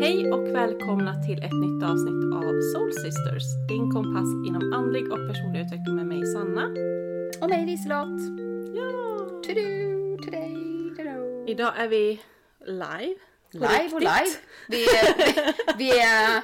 Hej och välkomna till ett nytt avsnitt av Soul Sisters, din kompass inom andlig och personlig utveckling med mig Sanna. Och mig Liselott. Ja! Tudu, today, tudu. Idag är vi live. Live och live. Vi, är- vi, är,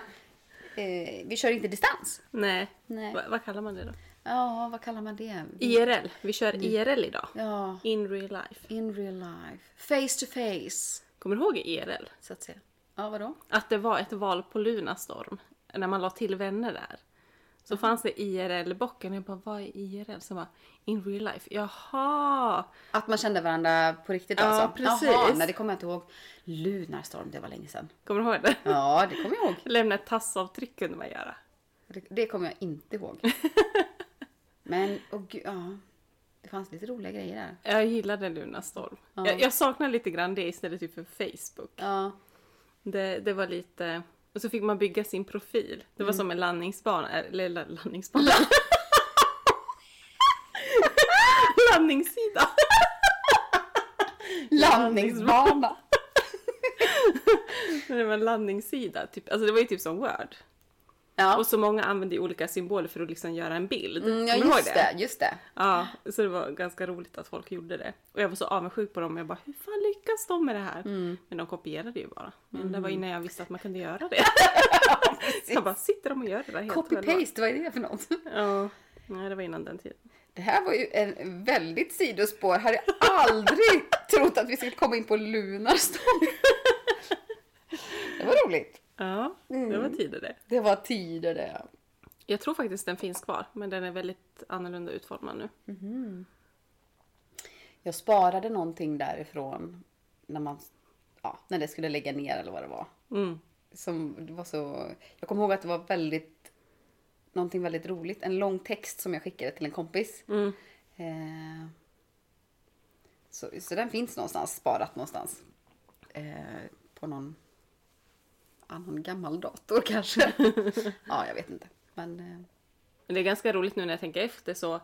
eh, vi kör inte distans. Nej, Mm. Nej. Va, vad kallar man det då? Ja, vad kallar man det? IRL. Vi kör IRL idag. Ja, In real life. in real life. Face to face, Kommer du ihåg IRL? så att säga. Ja, vadå? Att det var ett val på Lunarstorm, när man la till vänner där. Så fanns det IRL-bocken, jag bara vad är IRL? Så bara, in real life, jaha! Att man kände varandra på riktigt Ja, alltså? precis. Jaha, nej det kommer jag inte ihåg. Lunarstorm, det var länge sedan. Kommer du ihåg det? Ja, det kommer jag ihåg. Lämna ett tassavtryck kunde man göra. Det, det kommer jag inte ihåg. Men, åh gud, ja. Det fanns lite roliga grejer där. Jag gillade Lunarstorm. Ja. Jag, jag saknar lite grann det istället typ för Facebook. Ja, Det, det var lite... Och så fick man bygga sin profil. Det Mm. var som en landningsbana, eh, eller la- landningsbana. Landningssida! landningsbana. Det var en landningssida. Typ. Alltså det var ju typ som Word. Ja, Och så många använde ju olika symboler för att liksom göra en bild. mm, ja Kommer du ihåg just det, just det. Ja, så det var ganska roligt att folk gjorde det. Och jag var så avundsjuk på dem. Jag bara, hur fan lyckas de med det här? Men de kopierade ju bara. Men det var innan jag visste att man kunde göra det. så jag bara, sitter de och gör det där helt själva? Copy-paste, vad är det för något? Ja, nej det var innan den tiden. Det här var ju en väldigt sidospår. Hade jag aldrig trott att vi skulle komma in på Lunarstorm. Det var roligt. Ja, det var tider det. Det var tider det. Mm. Jag tror faktiskt den finns kvar, men den är väldigt annorlunda utformad nu. Jag sparade någonting därifrån när man, ja, när det skulle lägga ner eller vad det var. Mm. Som det var så, jag kommer ihåg att det var väldigt, någonting väldigt roligt. En lång text som jag skickade till en kompis. Mm. Eh, så, så den finns någonstans, sparat någonstans. Eh, på någon, ja, någon gammal dator kanske. ja, jag vet inte. Men eh, Men det är ganska roligt nu när jag tänker efter så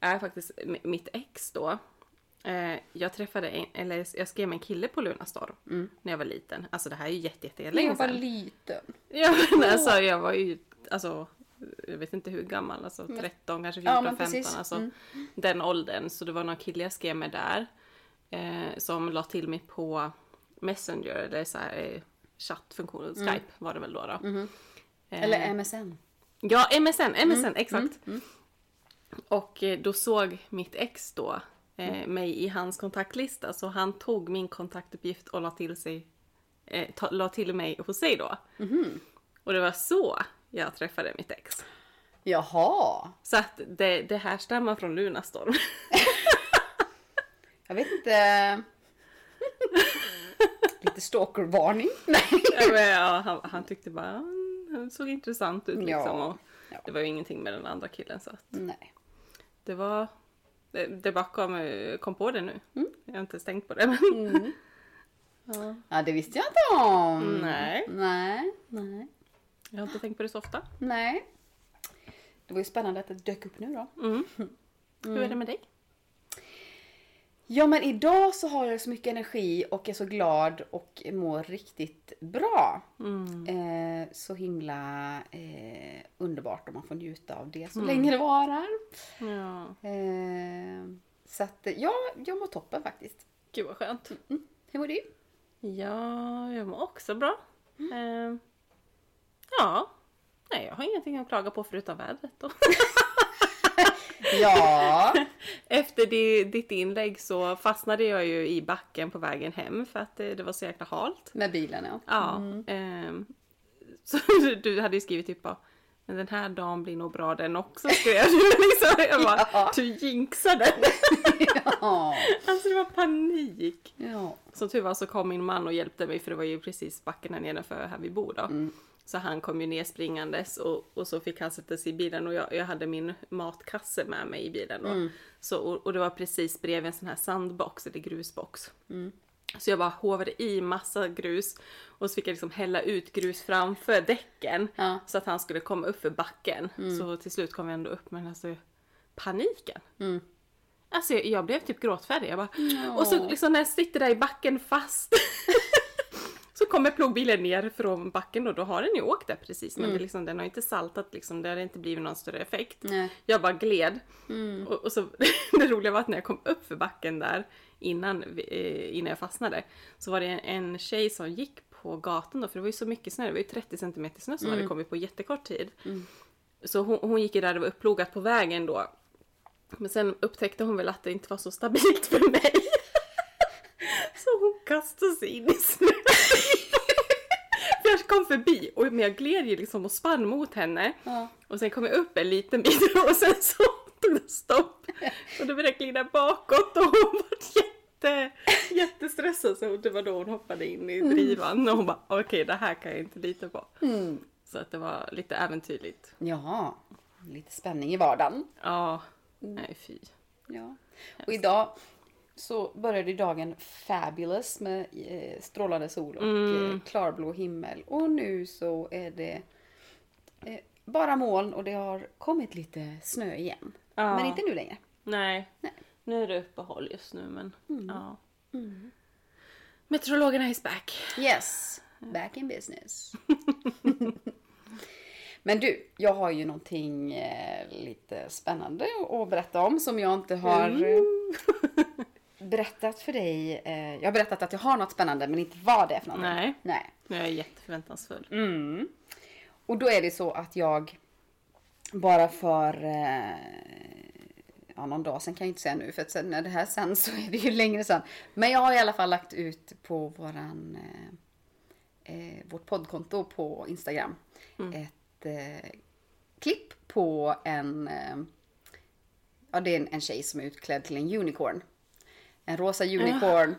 är faktiskt m- mitt ex då. Eh, jag träffade en, eller jag skrev med en kille på Lunarstorm när jag var liten. Alltså det här är ju jätte, jätte länge Mm. jag var sedan. liten. Ja, men alltså jag var ju, alltså, jag vet inte hur gammal, alltså 13, kanske 14, Ja, men 15, precis. Mm. alltså den åldern. Så det var någon kille jag skrev med där eh, som la till mig på Messenger eller så här, eh, Mm. chattfunktionen, Skype var det väl då. då. Eh, Eller MSN. Ja, MSN, Mm. MSN, exakt. Och eh, då såg mitt ex då eh, Mm. mig i hans kontaktlista så han tog min kontaktuppgift och la till, sig, eh, ta, la till mig hos sig då. Mhm. Och det var så jag träffade mitt ex. Jaha. Så att det, det härstammar från Lunarstorm. Jag vet inte. Lite stalkervarning. Nej. ja, men, ja, han, han tyckte bara, "Mm, han såg intressant ut Ja. liksom. Och Ja. det var ju ingenting med den andra killen så att Nej. det var, det, det bara kom, eh, kom på det nu. Jag har inte ens tänkt på det men. Ja. Mm. Ja, det visste jag inte om. Nej. Nej. Nej. Jag har inte tänkt på det så ofta. Nej. Det var ju spännande att det dök upp nu då. Mm. Hur är det med dig? Ja men idag så har jag så mycket energi och är så glad och mår riktigt bra. Mm. Eh, så himla eh, underbart om man får njuta av det så länge det varar. Ja. Eh, så att eh, ja, jag mår toppen faktiskt. Gud vad skönt. Mm. Hur mår du? Ja, jag mår också bra. Eh, ja. Nej, jag har ingenting att klaga på förutom vädret då. Ja, Efter di- ditt inlägg så fastnade jag ju i backen på vägen hem för att det, det var så jäkla halt. med bilen ja. Mm. Ja. ehm, så du hade ju skrivit typ bara men den här dagen blir nog bra den också skrev du liksom. Jag bara, Ja. du jinxade! Ja. Alltså det var panik! ja. Som tur var så kom min man och hjälpte mig för det var ju precis backen här nedanför här vi bor då. Så han kom ju ner springandes och, och så fick han sätta sig i bilen och jag, jag hade min matkasse med mig i bilen då. Så, och, och det var precis bredvid en sån här sandbox eller grusbox. Så jag bara hovade i massa grus och så fick jag liksom hälla ut grus framför däcken Ja. så att han skulle komma upp för backen. Så till slut kom jag ändå upp men alltså paniken. Mm. Alltså jag, jag blev typ gråtfärdig. Jag bara, Och så liksom när jag sitter där i backen fast så kommer plogbilen ner från backen och då har den ju åkt där precis men det liksom, den har inte saltat liksom, det har inte blivit någon större effekt. Nej. Jag bara gled. Och, och så, det roliga var att när jag kom upp för backen där innan, vi- eh, innan jag fastnade så var det en, en tjej som gick på gatan då, för det var ju så mycket snö, det var ju 30 cm snö som hade kommit på jättekort tid. Så hon, hon gick ju där det var upplogat på vägen då. Men sen upptäckte hon väl att det inte var så stabilt för mig. Så hon kastade sig in i snön. För jag kom förbi och men jag gled ju liksom och spann mot henne. Ja. Och sen kom jag upp en liten bit och sen så tog det stopp. Och då började jag glida bakåt och hon var jätte, jättestressad. Så det var då hon hoppade in i drivan och hon bara okej det här kan jag inte lita på. Mm. Så att det var lite äventyrligt. Jaha, lite spänning i vardagen. Ja, Mm. nej fy. Ja. Och idag så började ju dagen fabulous med eh, strålande sol och eh, klarblå himmel. Och nu så är det eh, bara moln och det har kommit lite snö igen. Ja. Men inte nu längre. Nej. nu är det uppehåll just nu men Mm. ja. Meteorologerna is back. Yes, back in business. Men du, jag har ju någonting eh, lite spännande att berätta om som jag inte har eh, berättat för dig. Eh, jag har berättat att jag har något spännande men inte vad det är för någonting. Nej. Nej. Nu är jag jätteförväntansfull. Mm. Och då är det så att jag bara för eh, ja, någon dag sen kan jag inte säga nu för att sen när det här sen så är det ju längre sen. Men jag har i alla fall lagt ut på våran eh, eh, vårt poddkonto på Instagram ett eh, klipp på en eh, ja det är en, en tjej som är utklädd till en unicorn. En rosa unicorn.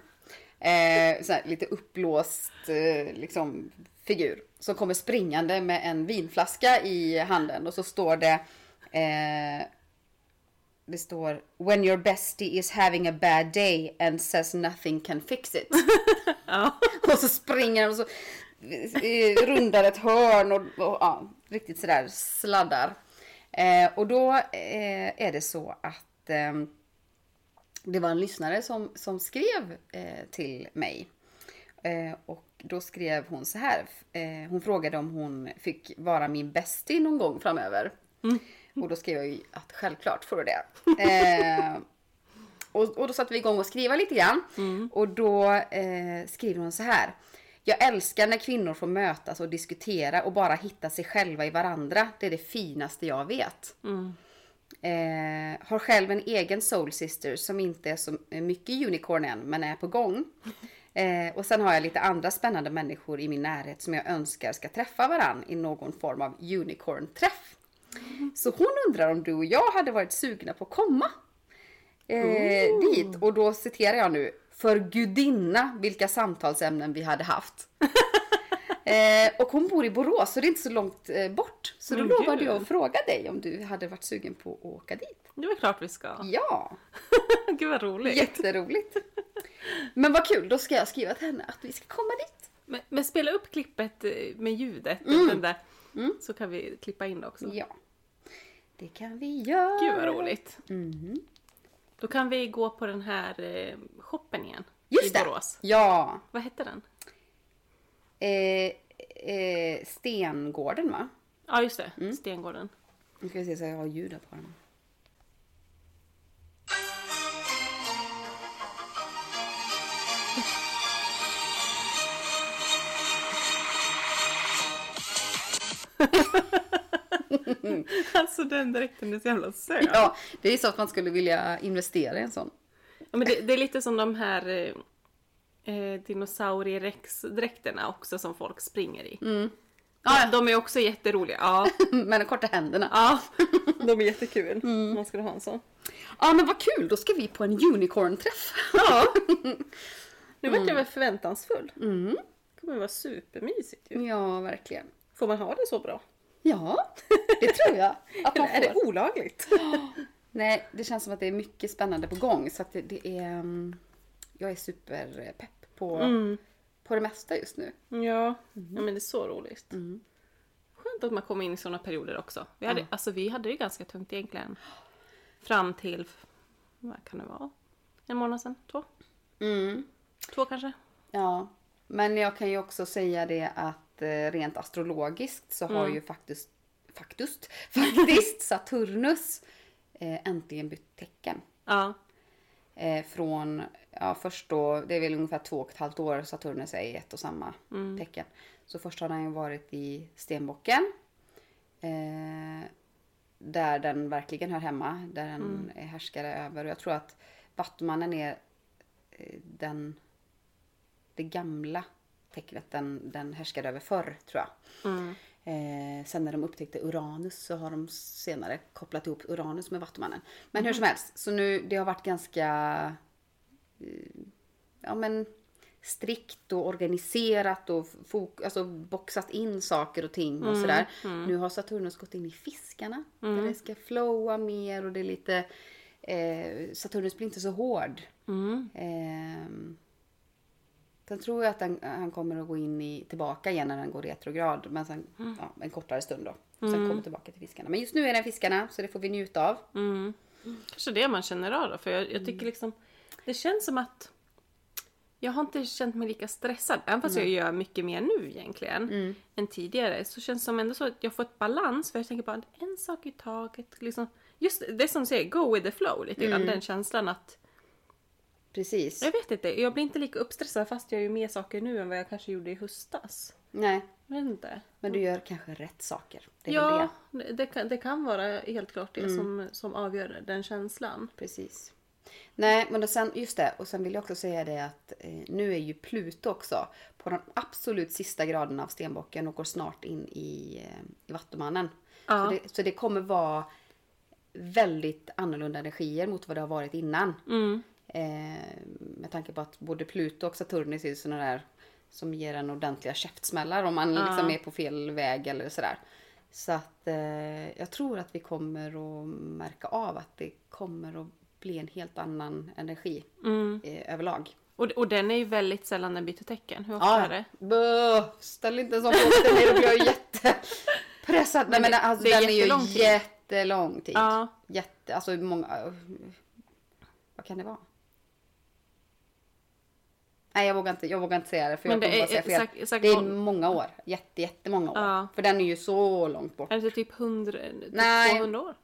Eh, sån här lite uppblåst eh, liksom, figur. Som kommer springande med en vinflaska i handen och så står det eh, det står When your bestie is having a bad day and says nothing can fix it. Ja. Och så springer den och så eh, rundar ett hörn och, och ja, riktigt sådär sladdar. Eh, och då eh, är det så att ehm, det var en lyssnare som, som skrev eh, till mig. Eh, och då skrev hon så här. Eh, hon frågade om hon fick vara min bästie någon gång framöver. Och då skrev jag ju att självklart får du det. Eh, och, och då satte vi igång och skriva lite grann. Och då eh, skriver hon så här. Jag älskar när kvinnor får mötas och diskutera och bara hitta sig själva i varandra. Det är det finaste jag vet. Mm. Eh, har själv en egen Soul Sister som inte är så mycket unicorn än, men är på gång. Eh, och sen har jag lite andra spännande människor i min närhet som jag önskar ska träffa varann i någon form av unicorn-träff. Så hon undrar om du och jag hade varit sugna på att komma eh, dit. Och då citerar jag nu, för gudinna vilka samtalsämnen vi hade haft. Eh, och hon bor i Borås så det är inte så långt eh, bort. Så då Men lovade gud. jag att fråga dig om du hade varit sugen på att åka dit. Det var klart vi ska. Ja, Gud vad roligt. jätteroligt. Men vad kul, då ska jag skriva till henne att vi ska komma dit. Men, men spela upp klippet eh, med ljudet. Den där, Så kan vi klippa in det också. Ja, det kan vi göra. Gud vad roligt. Mhm. Då kan vi gå på den här eh, shoppen igen. Just I det! Borås. Ja. Vad hette den? Eh, eh, Stengården va? Ja just det, Stengården. Nu ska vi se så jag har ljudet på den. Alltså den dräkten är så jävla söt. Ja. Ja, det är så att man skulle vilja investera i en sån. men det, det är lite som de här eh, eh, dinosaurie-rex-dräkterna också som folk springer i. Ja, de är också jätteroliga. Ja, Med de korta händerna. ja. Mm. de är jättekul. Man skulle ha en sån. Ja men vad kul, då ska vi på en unicorn-träff. Ja. Nu vart Mm. jag väl förväntansfull. Det kommer vara supermysigt ju. Ja, verkligen. Får man ha det så bra? Ja, det tror jag att man Eller är det får. olagligt? Nej, det känns som att det är mycket spännande på gång så att det, det är... mm, Jag är superpepp. på, på det mesta just nu. Ja. Mm. ja, men det är så roligt. Skönt att man kommer in i sådana perioder också. Vi hade, alltså, vi hade det ganska tungt egentligen. Fram till, vad kan det vara? En månad sedan? Två? Mm. Två kanske? Ja, men jag kan ju också säga det att eh, rent astrologiskt så har ju faktiskt, faktiskt, faktiskt Saturnus eh, äntligen bytt tecken. Ja. Eh, från, ja först då, det är väl ungefär två och ett halvt år Saturnus är i ett och samma tecken. Så först har den ju varit i Stenbocken. Eh, där den verkligen hör hemma, där den är härskare över. Och jag tror att Vattumannen är eh, den, det gamla tecknet den, den härskade över förr tror jag. Eh, sen när de upptäckte Uranus så har de senare kopplat ihop Uranus med Vattumannen. Men hur som helst, så nu det har varit ganska eh, ja, men, strikt och organiserat och fok- alltså, boxat in saker och ting och sådär. Nu har Saturnus gått in i fiskarna. Där det ska flowa mer och det är lite eh, Saturnus blir inte så hård. Mm. Ehm, Sen tror jag att den, han kommer att gå in i, tillbaka igen när den går retrograd. Men sen, ja, en kortare stund då. Sen kommer tillbaka till fiskarna. Men just nu är den fiskarna så det får vi njuta av. Mm. Kanske det man känner av då. För jag, jag tycker liksom, det känns som att jag har inte känt mig lika stressad. Även fast jag gör mycket mer nu egentligen Mm. än tidigare. Så känns det som ändå så att jag får ett balans. För jag tänker bara en sak i taget. Liksom. Just det som du säger, go with the flow lite Mm. grann. Den känslan att, Precis. jag vet inte, jag blir inte lika uppstressad fast jag gör mer saker nu än vad jag kanske gjorde i höstas. Nej, Jag vet inte. men du gör kanske rätt saker. Det är väl ja, det. Mm. det. kan, det kan vara helt klart det som, som avgör den känslan. Precis. Nej, men då sen, just det. Och sen vill jag också säga det att eh, nu är ju Pluto också på den absolut sista graden av stenbocken och går snart in i, eh, i Vattumannen. Ja. Så, det, så det kommer vara väldigt annorlunda energier mot vad det har varit innan. Eh, med tanke på att både Pluto och Saturnus är ju sådana där som ger en ordentliga käftsmällar om man liksom är på fel väg eller sådär. Så att eh, jag tror att vi kommer att märka av att det kommer att bli en helt annan energi Mm. eh, överlag. Och, och den är ju väldigt sällan den byter tecken. Hur ofta är det? Bö, ställ inte en sån fråga till mig, då blir jag jättepressad. Men Nej men det- alltså det är den är jättelång ju tid. jättelång tid. Ja. Jätte, alltså hur många, vad kan det vara? Nej jag vågar inte, jag vågar inte säga det för Men jag det kommer bara är- säga fel. exakt- exakt det är noll. många år, jätte, jättemånga år. Ja. För den är ju så långt bort. Är det typ 100, typ Nej. 200 år?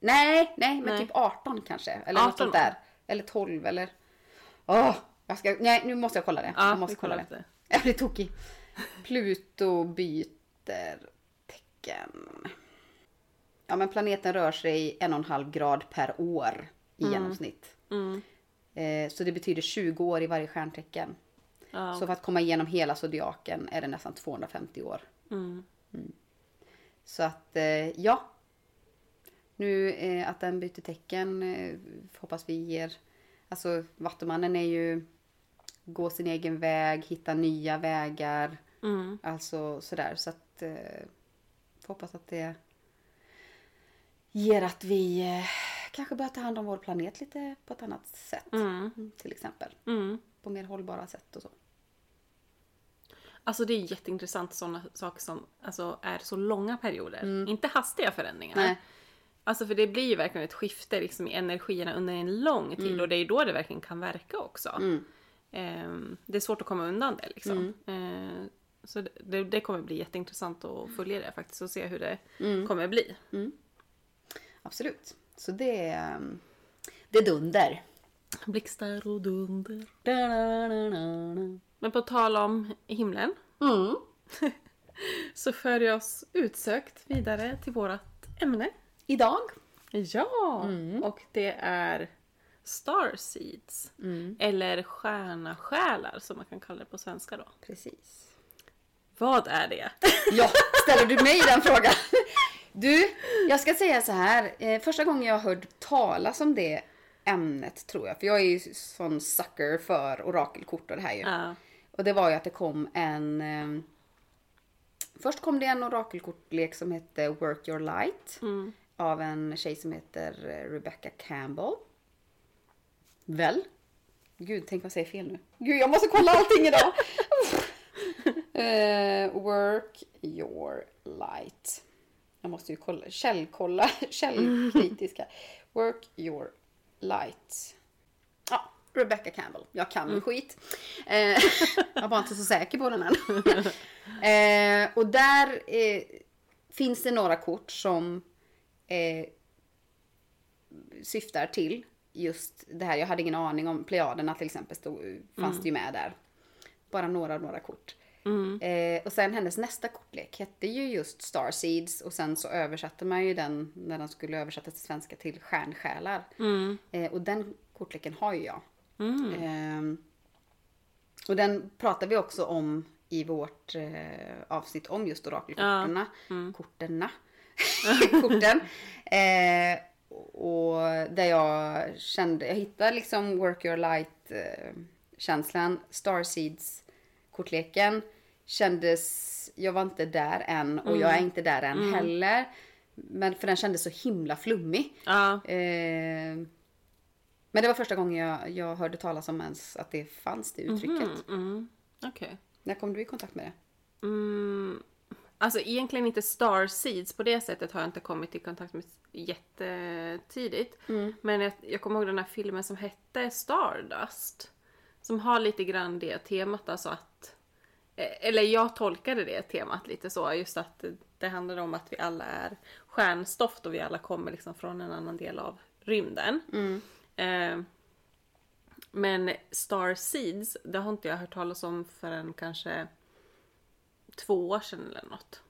Nej, nej men Nej. typ 18 kanske. Eller 18 något sånt år. där. Eller 12 eller. Åh, jag ska, nej nu måste jag kolla det. Ja, jag måste vi kollar kolla det. upp det. Jag blir tokig. Pluto byter tecken. Ja men planeten rör sig en och en halv grad per år i genomsnitt. Mm. Eh, så det betyder 20 år i varje stjärntecken. Ja. Så för att komma igenom hela zodiaken är det nästan 250 år. Mm. Så att eh, ja. Nu eh, att den byter tecken eh, hoppas vi ger. Alltså Vattumannen är ju gå sin egen väg, hitta nya vägar. Mm. Alltså sådär. Så att eh, får hoppas att det ger att vi eh, kanske börjar ta hand om vår planet lite på ett annat sätt. Mm. Mm, Till exempel. Mm. På mer hållbara sätt och så. Alltså det är jätteintressant sådana saker som alltså, är så långa perioder. Inte hastiga förändringar. Mm. Nej. Alltså för det blir ju verkligen ett skifte liksom, i energierna under en lång Mm. tid och det är ju då det verkligen kan verka också. Ehm, det är svårt att komma undan det liksom. Ehm, så det- det, det kommer bli jätteintressant att följa det faktiskt och se hur det kommer bli. Absolut. Så det är, ehm, det är dunder. Blixtar och dunder. Men på tal om himlen Mm. så för jag oss utsökt vidare till vårt ämne. Idag. Ja! Och det är Starseeds. Eller stjärnasjälar som man kan kalla det på svenska då. Precis. Vad är det? Ja, ställer du mig den frågan? Du, jag ska säga så här. Eh, första gången jag hörde talas om det ämnet tror jag, för jag är ju sån sucker för orakelkort och det här ju. Ja. Och det var ju att det kom en... Eh, först kom det en orakelkortlek som hette Work Your Light. Av en tjej som heter eh, Rebecca Campbell. Väl? Gud, tänk vad jag säger fel nu. Gud, jag måste kolla allting idag. Eh, work your light. Jag måste ju kolla, källkolla, källkritiska. Work your light. Ja, Rebecca Campbell. Jag kan min skit. Eh, jag var bara inte så säker på den än. eh, och där eh, finns det några kort som eh, syftar till just det här. Jag hade ingen aning om plejaderna till exempel stod, fanns det ju med där. Bara några, några kort. Eh, och sen hennes nästa kortlek hette ju just Star Seeds och sen så översatte man ju den när den skulle översättas till svenska till Stjärnsjälar. Mm, Eh, och den kortleken har ju jag. Ehm, och den pratar vi också om i vårt eh, avsnitt om just orakelkorten. Korterna. Korten. Eh, och där jag kände, jag hittade liksom Work Your Light eh, känslan, Starseeds kortleken kändes, jag var inte där än och jag är inte där än heller. Men för den kändes så himla flummig. Ja. Eh, men det var första gången jag, jag hörde talas om ens att det fanns det uttrycket. Mm. Okej. När kom du i kontakt med det? Mm. Alltså egentligen inte star seeds på det sättet har jag inte kommit i kontakt med jättetidigt. Men jag, jag kommer ihåg den här filmen som hette Stardust. Som har lite grann det temat alltså att eh, eller jag tolkade det temat lite så, just att det- det handlar om att vi alla är stjärnstoft och vi alla kommer liksom från en annan del av rymden. Eh, men Star Seeds, det har inte jag hört talas om förrän kanske två år sedan eller något.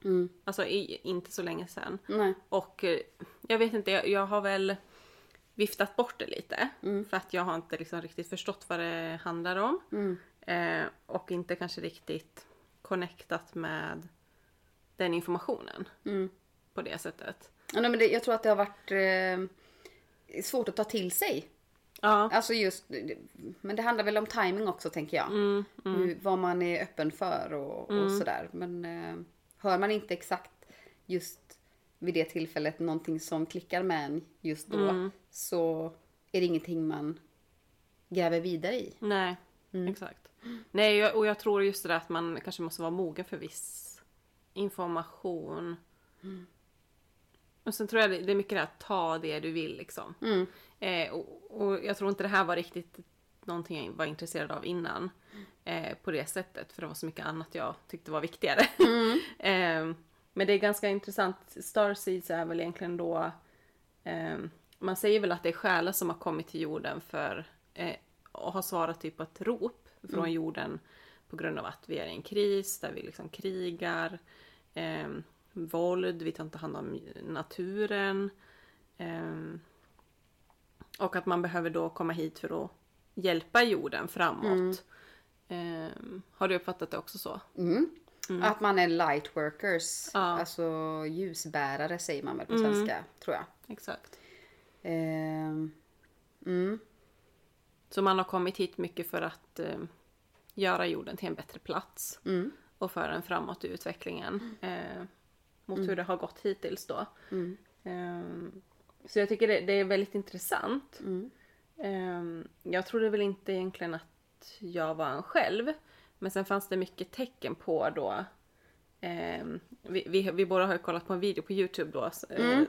Alltså i, inte så länge sedan. Nej. Och eh, jag vet inte, jag, jag har väl viftat bort det lite. För att jag har inte liksom riktigt förstått vad det handlar om. Eh, och inte kanske riktigt connectat med den informationen. På det sättet. Ja, nej men det, jag tror att det har varit eh, svårt att ta till sig. Ja, Alltså just, men det handlar väl om timing också tänker jag. Hur, vad man är öppen för och, och sådär. Men eh, hör man inte exakt just vid det tillfället någonting som klickar med en just då. Så är det ingenting man gräver vidare i. nej. Exakt. Nej, jag- och jag tror just det där att man kanske måste vara mogen för viss information. Och sen tror jag det- det är mycket det här att ta det du vill liksom. Eh, och, och jag tror inte det här var riktigt någonting jag var intresserad av innan. Eh, på det sättet, för det var så mycket annat jag tyckte var viktigare. Mm. eh, men det är ganska intressant, Starseeds är väl egentligen då eh, Man säger väl att det är själar som har kommit till jorden för eh, och har svarat typ på ett rop från jorden på grund av att vi är i en kris där vi liksom krigar, eh, våld, vi tar inte hand om naturen. ehm, och att man behöver då komma hit för att hjälpa jorden framåt. Ehm, har du uppfattat det också så? Mm. Att man är light workers, Ja. Mm. alltså ljusbärare säger man väl på svenska, tror jag. Exakt. Ehm, mm. Så man har kommit hit mycket för att eh, göra jorden till en bättre plats. mm, Och föra den framåt i utvecklingen. Eh, mot hur det har gått hittills då. mm, Ehm, så jag tycker det, det är väldigt intressant. mm, Ehm, jag trodde väl inte egentligen att jag var en själv. Men sen fanns det mycket tecken på då. ehm, vi, vi, vi båda har ju kollat på en video på Youtube då. så, eh, Mm.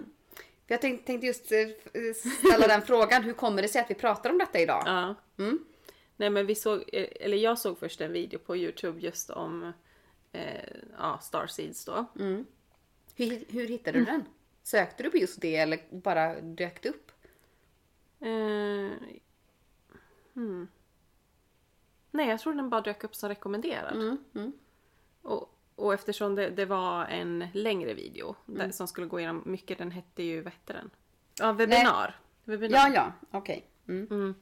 För Jag tänkte, tänkte just eh, f- ställa den frågan, hur kommer det sig att vi pratar om detta idag? Mm, Ja. Nej men vi såg, eh, eller jag såg först en video på Youtube just om eh, ja, Starseeds då. mm. Hur, hur hittade Mm. du den? Sökte du på just det eller bara dök det upp? Eh, hmm. Nej jag tror den bara dök upp som rekommenderad. Mm. Mm. Och, och eftersom det, det var en längre video där, som skulle gå igenom mycket, den hette ju, vad hette den? Ja, webbinar. Webbinar. Ja, ja, okej. Mm.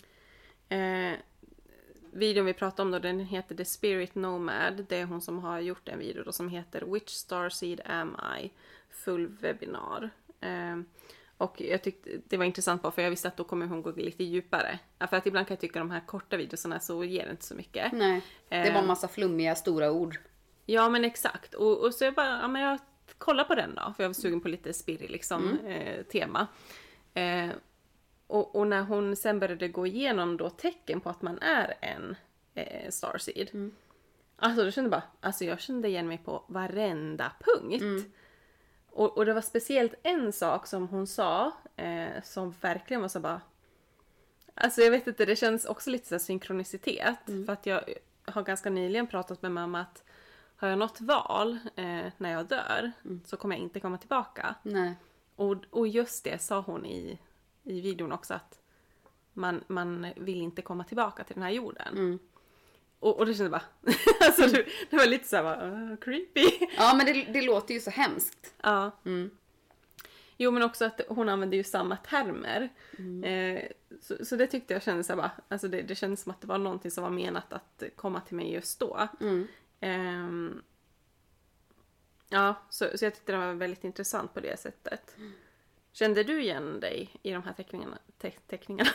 Eh, videon vi pratade om då, den heter The Spirit Nomad. Det är hon som har gjort en video då som heter Which Starseed Am I? Full webbinar. Eh, och jag tyckte det var intressant bara för jag visste att då kommer hon gå lite djupare. Ja, För att ibland kan jag tycka de här korta videorna så ger det inte så mycket. Nej, det var Ehm. en massa flummiga stora ord. Ja men exakt. Och, och så jag bara, ja men jag kollar på den då. För jag var sugen på lite spirit liksom, eh, tema. Eh, Och, och när hon sen började gå igenom då tecken på att man är en eh, starseed. Alltså då kände jag bara, alltså jag kände igen mig på varenda punkt. Och, och det var speciellt en sak som hon sa eh, som verkligen var så bara... Alltså jag vet inte, det känns också lite så här synkronicitet. För att jag har ganska nyligen pratat med mamma att har jag något val eh, när jag dör så kommer jag inte komma tillbaka. Nej. Och, och just det sa hon i, i videon också att man, man vill inte komma tillbaka till den här jorden. Och, och det kände jag bara, alltså det, det var lite såhär uh, creepy. Ja men det, det låter ju så hemskt. Ja. Mm. Jo men också att hon använde ju samma termer. Eh, så, så det tyckte jag kändes såhär bara, alltså det, det kändes som att det var någonting som var menat att komma till mig just då. Mm. Ehm, ja, så, så jag tyckte det var väldigt intressant på det sättet. Kände du igen dig i de här teckningarna? Te- teckningarna?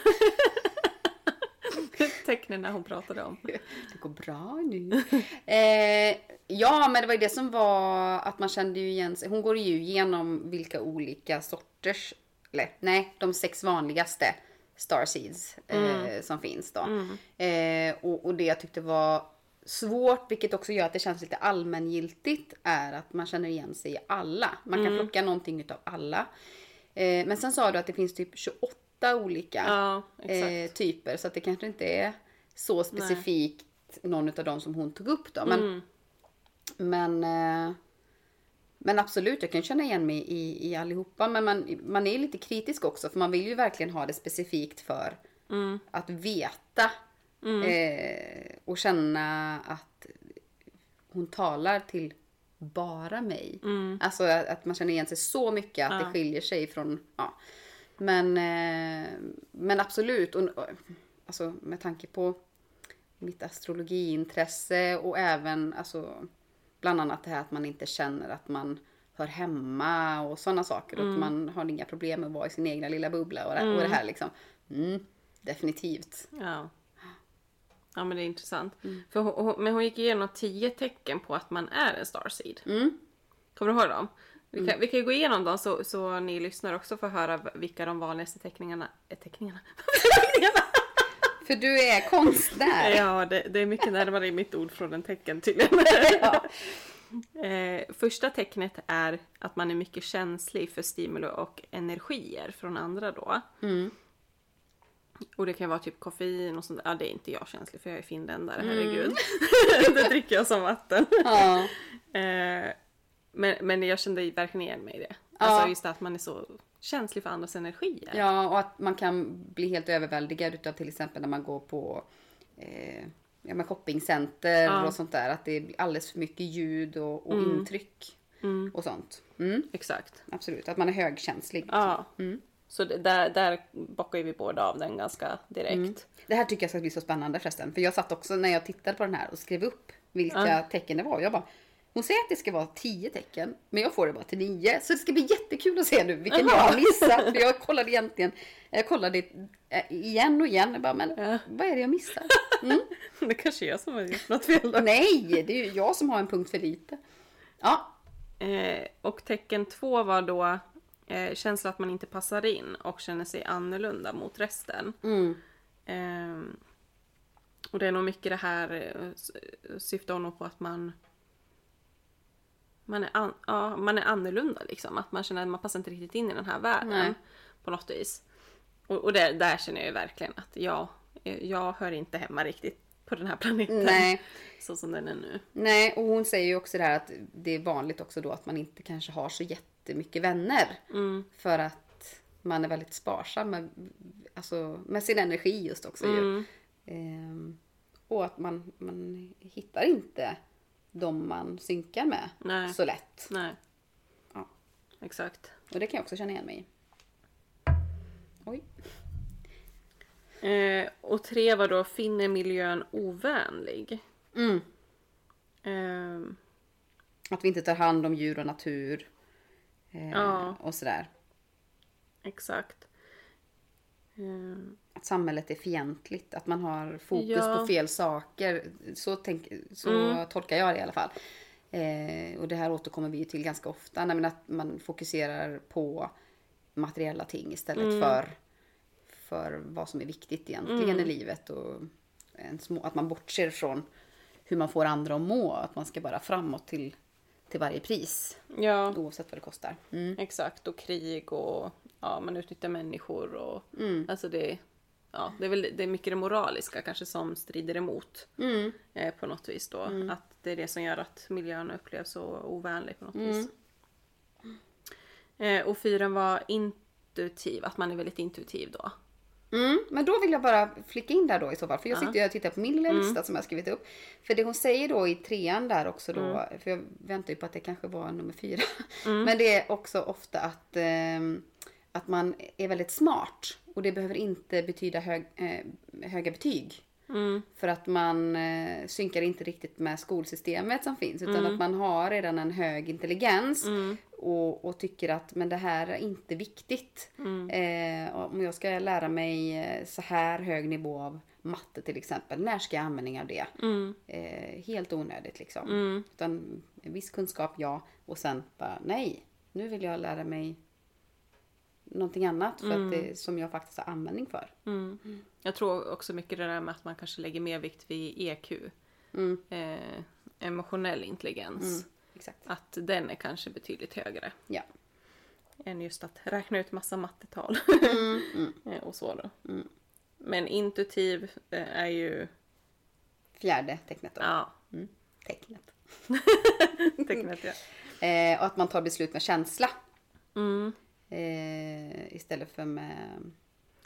Tecknena hon pratade om. Det går bra nu. Eh, ja, men det var ju det som var att man kände ju igen sig. Hon går ju igenom vilka olika sorters, eller nej, de sex vanligaste starseeds eh, som finns då. Eh, och, och det jag tyckte var svårt, vilket också gör att det känns lite allmängiltigt, är att man känner igen sig i alla. Man kan plocka någonting utav alla. Eh, men sen sa du att det finns typ 28 olika Ja, exakt. eh, typer. Så att det kanske inte är så specifikt någon av dem som hon tog upp då. Eh, Mm. Men, men, eh, men absolut, jag kan känna igen mig i, i allihopa. Men man, man är ju lite kritisk också för man vill ju verkligen ha det specifikt för mm, att veta eh, och känna att hon talar till bara mig. mm. Alltså att att man känner igen sig så mycket att det skiljer sig från, ja. Men, eh, men absolut, och, och, alltså med tanke på mitt astrologiintresse och även alltså bland annat det här att man inte känner att man hör hemma och sådana saker. Och att man har inga problem med att vara i sin egna lilla bubbla och det, och det här liksom. Mm, definitivt. Ja. Ja men det är intressant. Mm. För hon, hon, men hon gick igenom tio tecken på att man är en starseed. Mm. Kommer du ihåg dem? Vi kan, vi kan ju gå igenom dem så, så ni lyssnar också får höra v- vilka de vanligaste teckningarna är. Teckningarna? För du är konstnär. ja, det, det är mycket närmare mitt ord från en tecken tydligen. Ja. eh, första tecknet är att man är mycket känslig för stimuli och energier från andra då. Mm. Och det kan vara typ koffein och sånt. Ja, det är inte jag känslig för jag är finländare, Mm. herregud. det dricker jag som vatten. Ja. Eh, men, men jag kände verkligen igen mig i det. Ja. Alltså just det att man är så känslig för andras energier. ja, och att man kan bli helt överväldigad utav till exempel när man går på eh, ja, men shoppingcenter Ja. och sånt där. Att det blir alldeles för mycket ljud och, och intryck och sånt. Mm, Exakt. absolut, att man är högkänslig. Ja. Mm. Så det, där, där bockar ju vi båda av den ganska direkt. Det här tycker jag ska bli så spännande förresten. För jag satt också när jag tittade på den här och skrev upp vilka tecken det var. Jag bara, hon säger att det ska vara 10 tecken, men jag får det bara till 9. Så det ska bli jättekul att se nu vilken jag har missat. För jag kollade egentligen, jag kollade eh, igen och igen. Jag bara, men vad är det jag missar? Mm. Mm. Det kanske är jag som har gjort något fel då. Nej, det är ju jag som har en punkt för lite. Ja, Eh, och tecken två var då eh, känsla att man inte passar in och känner sig annorlunda mot resten. mm, Ehm, och det är nog mycket det här eh, s- syftar hon nog på att man man är, an, ja, man är annorlunda liksom. Att man känner att man passar inte riktigt in i den här världen Nej. på något vis. Och, och där, där känner jag ju verkligen att jag, eh, jag hör inte hemma riktigt på den här planeten. nej. Så som den är nu. Nej, och hon säger ju också det här att det är vanligt också då att man inte kanske har så jättemycket vänner. Mm. För att man är väldigt sparsam med, alltså, med sin energi just också Mm. ju. Ehm, och att man, man hittar inte de man synkar med Nej. så lätt. Nej, Ja. exakt. Och det kan jag också känna igen mig i. Oj. Eh, och tre var då finner miljön ovänlig. Mm. Ehm, Att vi inte tar hand om djur och natur. eh, Ja. Och sådär. exakt. Ehm, att samhället är fientligt, att man har fokus Ja. på fel saker. Så, tänk, så tolkar jag det i alla fall. Eh, och det här återkommer vi ju till ganska ofta, Nej, men att man fokuserar på materiella ting istället för för vad som är viktigt egentligen i livet. Och en små, att man bortser från hur man får andra att må. Att man ska bara framåt till, till varje pris. Ja, Oavsett vad det kostar. Mm. exakt. Och krig och ja, man utnyttjar människor och Mm. alltså det, ja, det är väl det är mycket det moraliska kanske som strider emot Mm. eh, på något vis då. Att det är det som gör att miljön upplevs så ovänlig på något vis. Mm. Eh, och fyren var intuitiv, att man är väldigt intuitiv då. Mm, men då vill jag bara flicka in där då i så fall. För jag sitter ju och tittar på min lilla lista som jag har skrivit upp. För det hon säger då i trean där också då. För jag väntar ju på att det kanske var nummer fyra. Mm. Men det är också ofta att, ehm, att man är väldigt smart. Och det behöver inte betyda hög, eh, höga betyg. Mm. För att man eh, synkar inte riktigt med skolsystemet som finns. Utan att man har redan en hög intelligens. Mm. Och, och tycker att men det här är inte viktigt. Mm. Eh, om jag ska lära mig eh, så här hög nivå av matte till exempel. När ska jag användning av det? Mm. Eh, helt onödigt liksom. Utan en viss kunskap ja. Och sen bara nej. Nu vill jag lära mig någonting annat. För Mm. att det, som jag faktiskt har användning för. Jag tror också mycket det där med att man kanske lägger mer vikt vid EQ. Eh, emotionell intelligens. Exakt. Att den är kanske betydligt högre. Ja. än just att räkna ut massa mattetal. Eh, och så då. Men intuitiv eh, är ju, Fjärde tecknet då. ja, Mm. Tecknet. tecknet ja. Eh, och att man tar beslut med känsla. Mm. Eh, istället för med...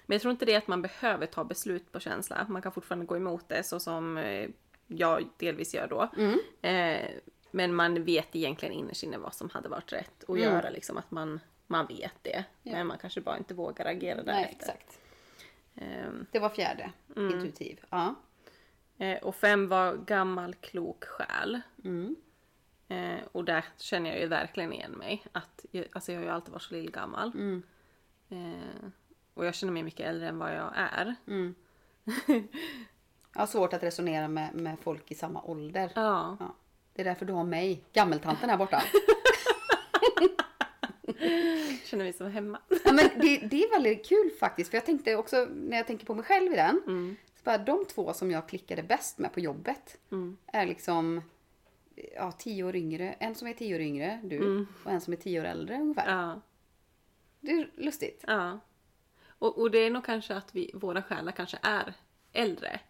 Men jag tror inte det är att man behöver ta beslut på känsla. Man kan fortfarande gå emot det så som eh, jag delvis gör då. Eh, men man vet egentligen innerst inne vad som hade varit rätt att göra. Liksom, att man, man vet det. Men man kanske bara inte vågar agera Nej, därefter. exakt. Ehm, Mm. Det var fjärde. Intuitiv. Ja. Eh, och fem var gammal klok själ. Mm. Eh, och där känner jag ju verkligen igen mig. Att jag, alltså jag har ju alltid varit så lillgammal. Eh, och jag känner mig mycket äldre än vad jag är. Jag har svårt att resonera med, med folk i samma ålder. Ja. Ja. Det är därför du har mig, gammeltanten här borta. Känner mig som hemma. Ja, men det, det är väldigt kul faktiskt. För jag tänkte också, när jag tänker på mig själv i den. Mm. Så bara, de två som jag klickade bäst med på jobbet. Mm. Är liksom ja, tio år yngre. En som är tio år yngre, du. Och en som är tio år äldre ungefär. Mm. Ja. Det är lustigt. ja. Och, och det är nog kanske att vi, våra själar kanske är äldre.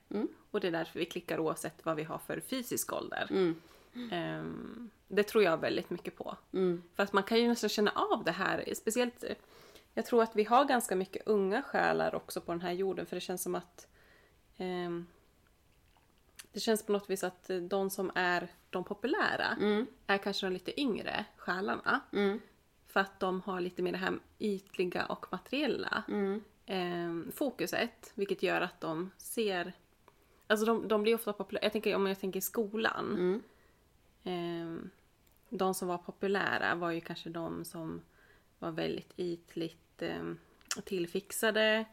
Och det är därför vi klickar oavsett vad vi har för fysisk ålder. Ehm, det tror jag väldigt mycket på. För att man kan ju nästan känna av det här. Speciellt, eh, jag tror att vi har ganska mycket unga själar också på den här jorden. För det känns som att ehm, det känns på något vis att eh, de som är de populära Mm. är kanske de lite yngre själarna. För att de har lite mer det här ytliga och materiella Mm. ehm, fokuset. Vilket gör att de ser... Alltså de, de blir ofta populära. Jag tänker, om jag tänker i skolan. Mm. Ehm, de som var populära var ju kanske de som var väldigt ytligt ehm, tillfixade.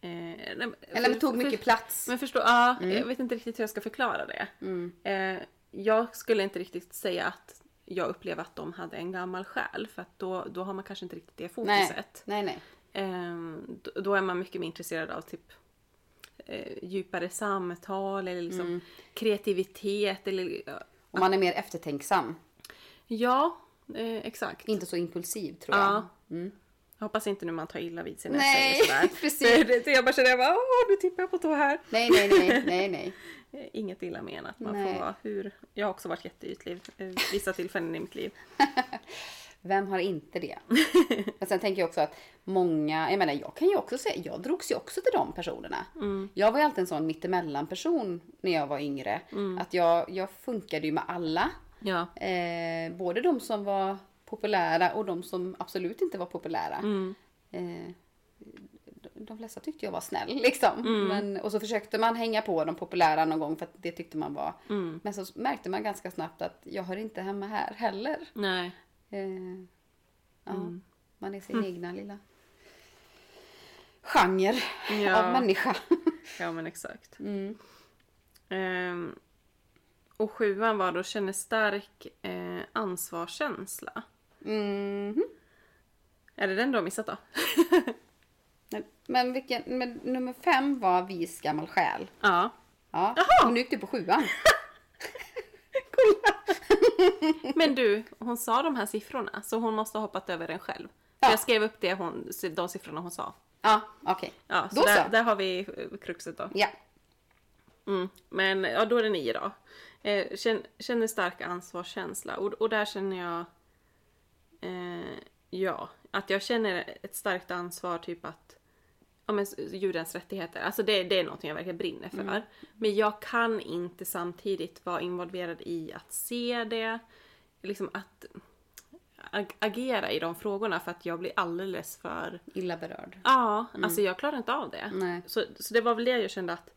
eh, Eller det tog mycket plats. Men förstå, ja, Mm. jag vet inte riktigt hur jag ska förklara det. Eh, jag skulle inte riktigt säga att jag upplevde att de hade en gammal själ för att då, då har man kanske inte riktigt det Nej, fokuset. nej, nej. Eh, då, då är man mycket mer intresserad av typ eh, djupare samtal eller liksom Mm. kreativitet eller ja, Och man är mer eftertänksam. ja, eh, exakt. Inte så impulsiv tror jag. Mm. Ja. Jag hoppas inte nu man tar illa vid sig när jag Nej, säger sådär. precis. För det- Jag bara känner, jag bara, åh nu tippar jag på tå här. Nej, nej, nej, nej, nej. Eh, Inget illa menat. Man Nej. får vara hur... Jag har också varit jätteytlig eh, vissa tillfällen i mitt liv. Vem har inte det? Men sen tänker jag också att många, jag menar jag kan ju också säga, jag drogs ju också till de personerna. Jag var ju alltid en sån mittemellan person när jag var yngre. Att jag, jag funkade ju med alla. Ja. Eh, både de som var populära och de som absolut inte var populära. Mm. Eh, de- de flesta tyckte jag var snäll liksom. Men, och så försökte man hänga på de populära någon gång för att det tyckte man var. Men så märkte man ganska snabbt att jag hör inte hemma här heller. Nej. Eh, ja, Mm. Man är sin egna lilla genre Ja. av människa. Ja men exakt. Mm. Ehm, och sjuan var då känner stark eh, ansvarskänsla. Mhm. Är det den du har missat då? Men, men, vilken, men nummer fem var Vis gammal själ. Ja. Ja. Jaha! Hon gick du på sjuan. Men du, hon sa de här siffrorna så hon måste ha hoppat över den själv. Ja. För jag skrev upp det hon, de siffrorna hon sa. Ja, okej. Ja, så Då där, så. där har vi eh, kruxet då. Ja. Mm. Men ja, då är det nio då. Eh, kän- känner stark ansvarskänsla och, och där känner jag eh, ja, att jag känner ett starkt ansvar typ att ja, men, s- djurens rättigheter, alltså det, det är något jag verkligen brinner för. Men jag kan inte samtidigt vara involverad i att se det, liksom att ag- agera i de frågorna för att jag blir alldeles för Illa berörd. Ja, alltså jag klarar inte av det. Nej. Så, så det var väl det jag kände att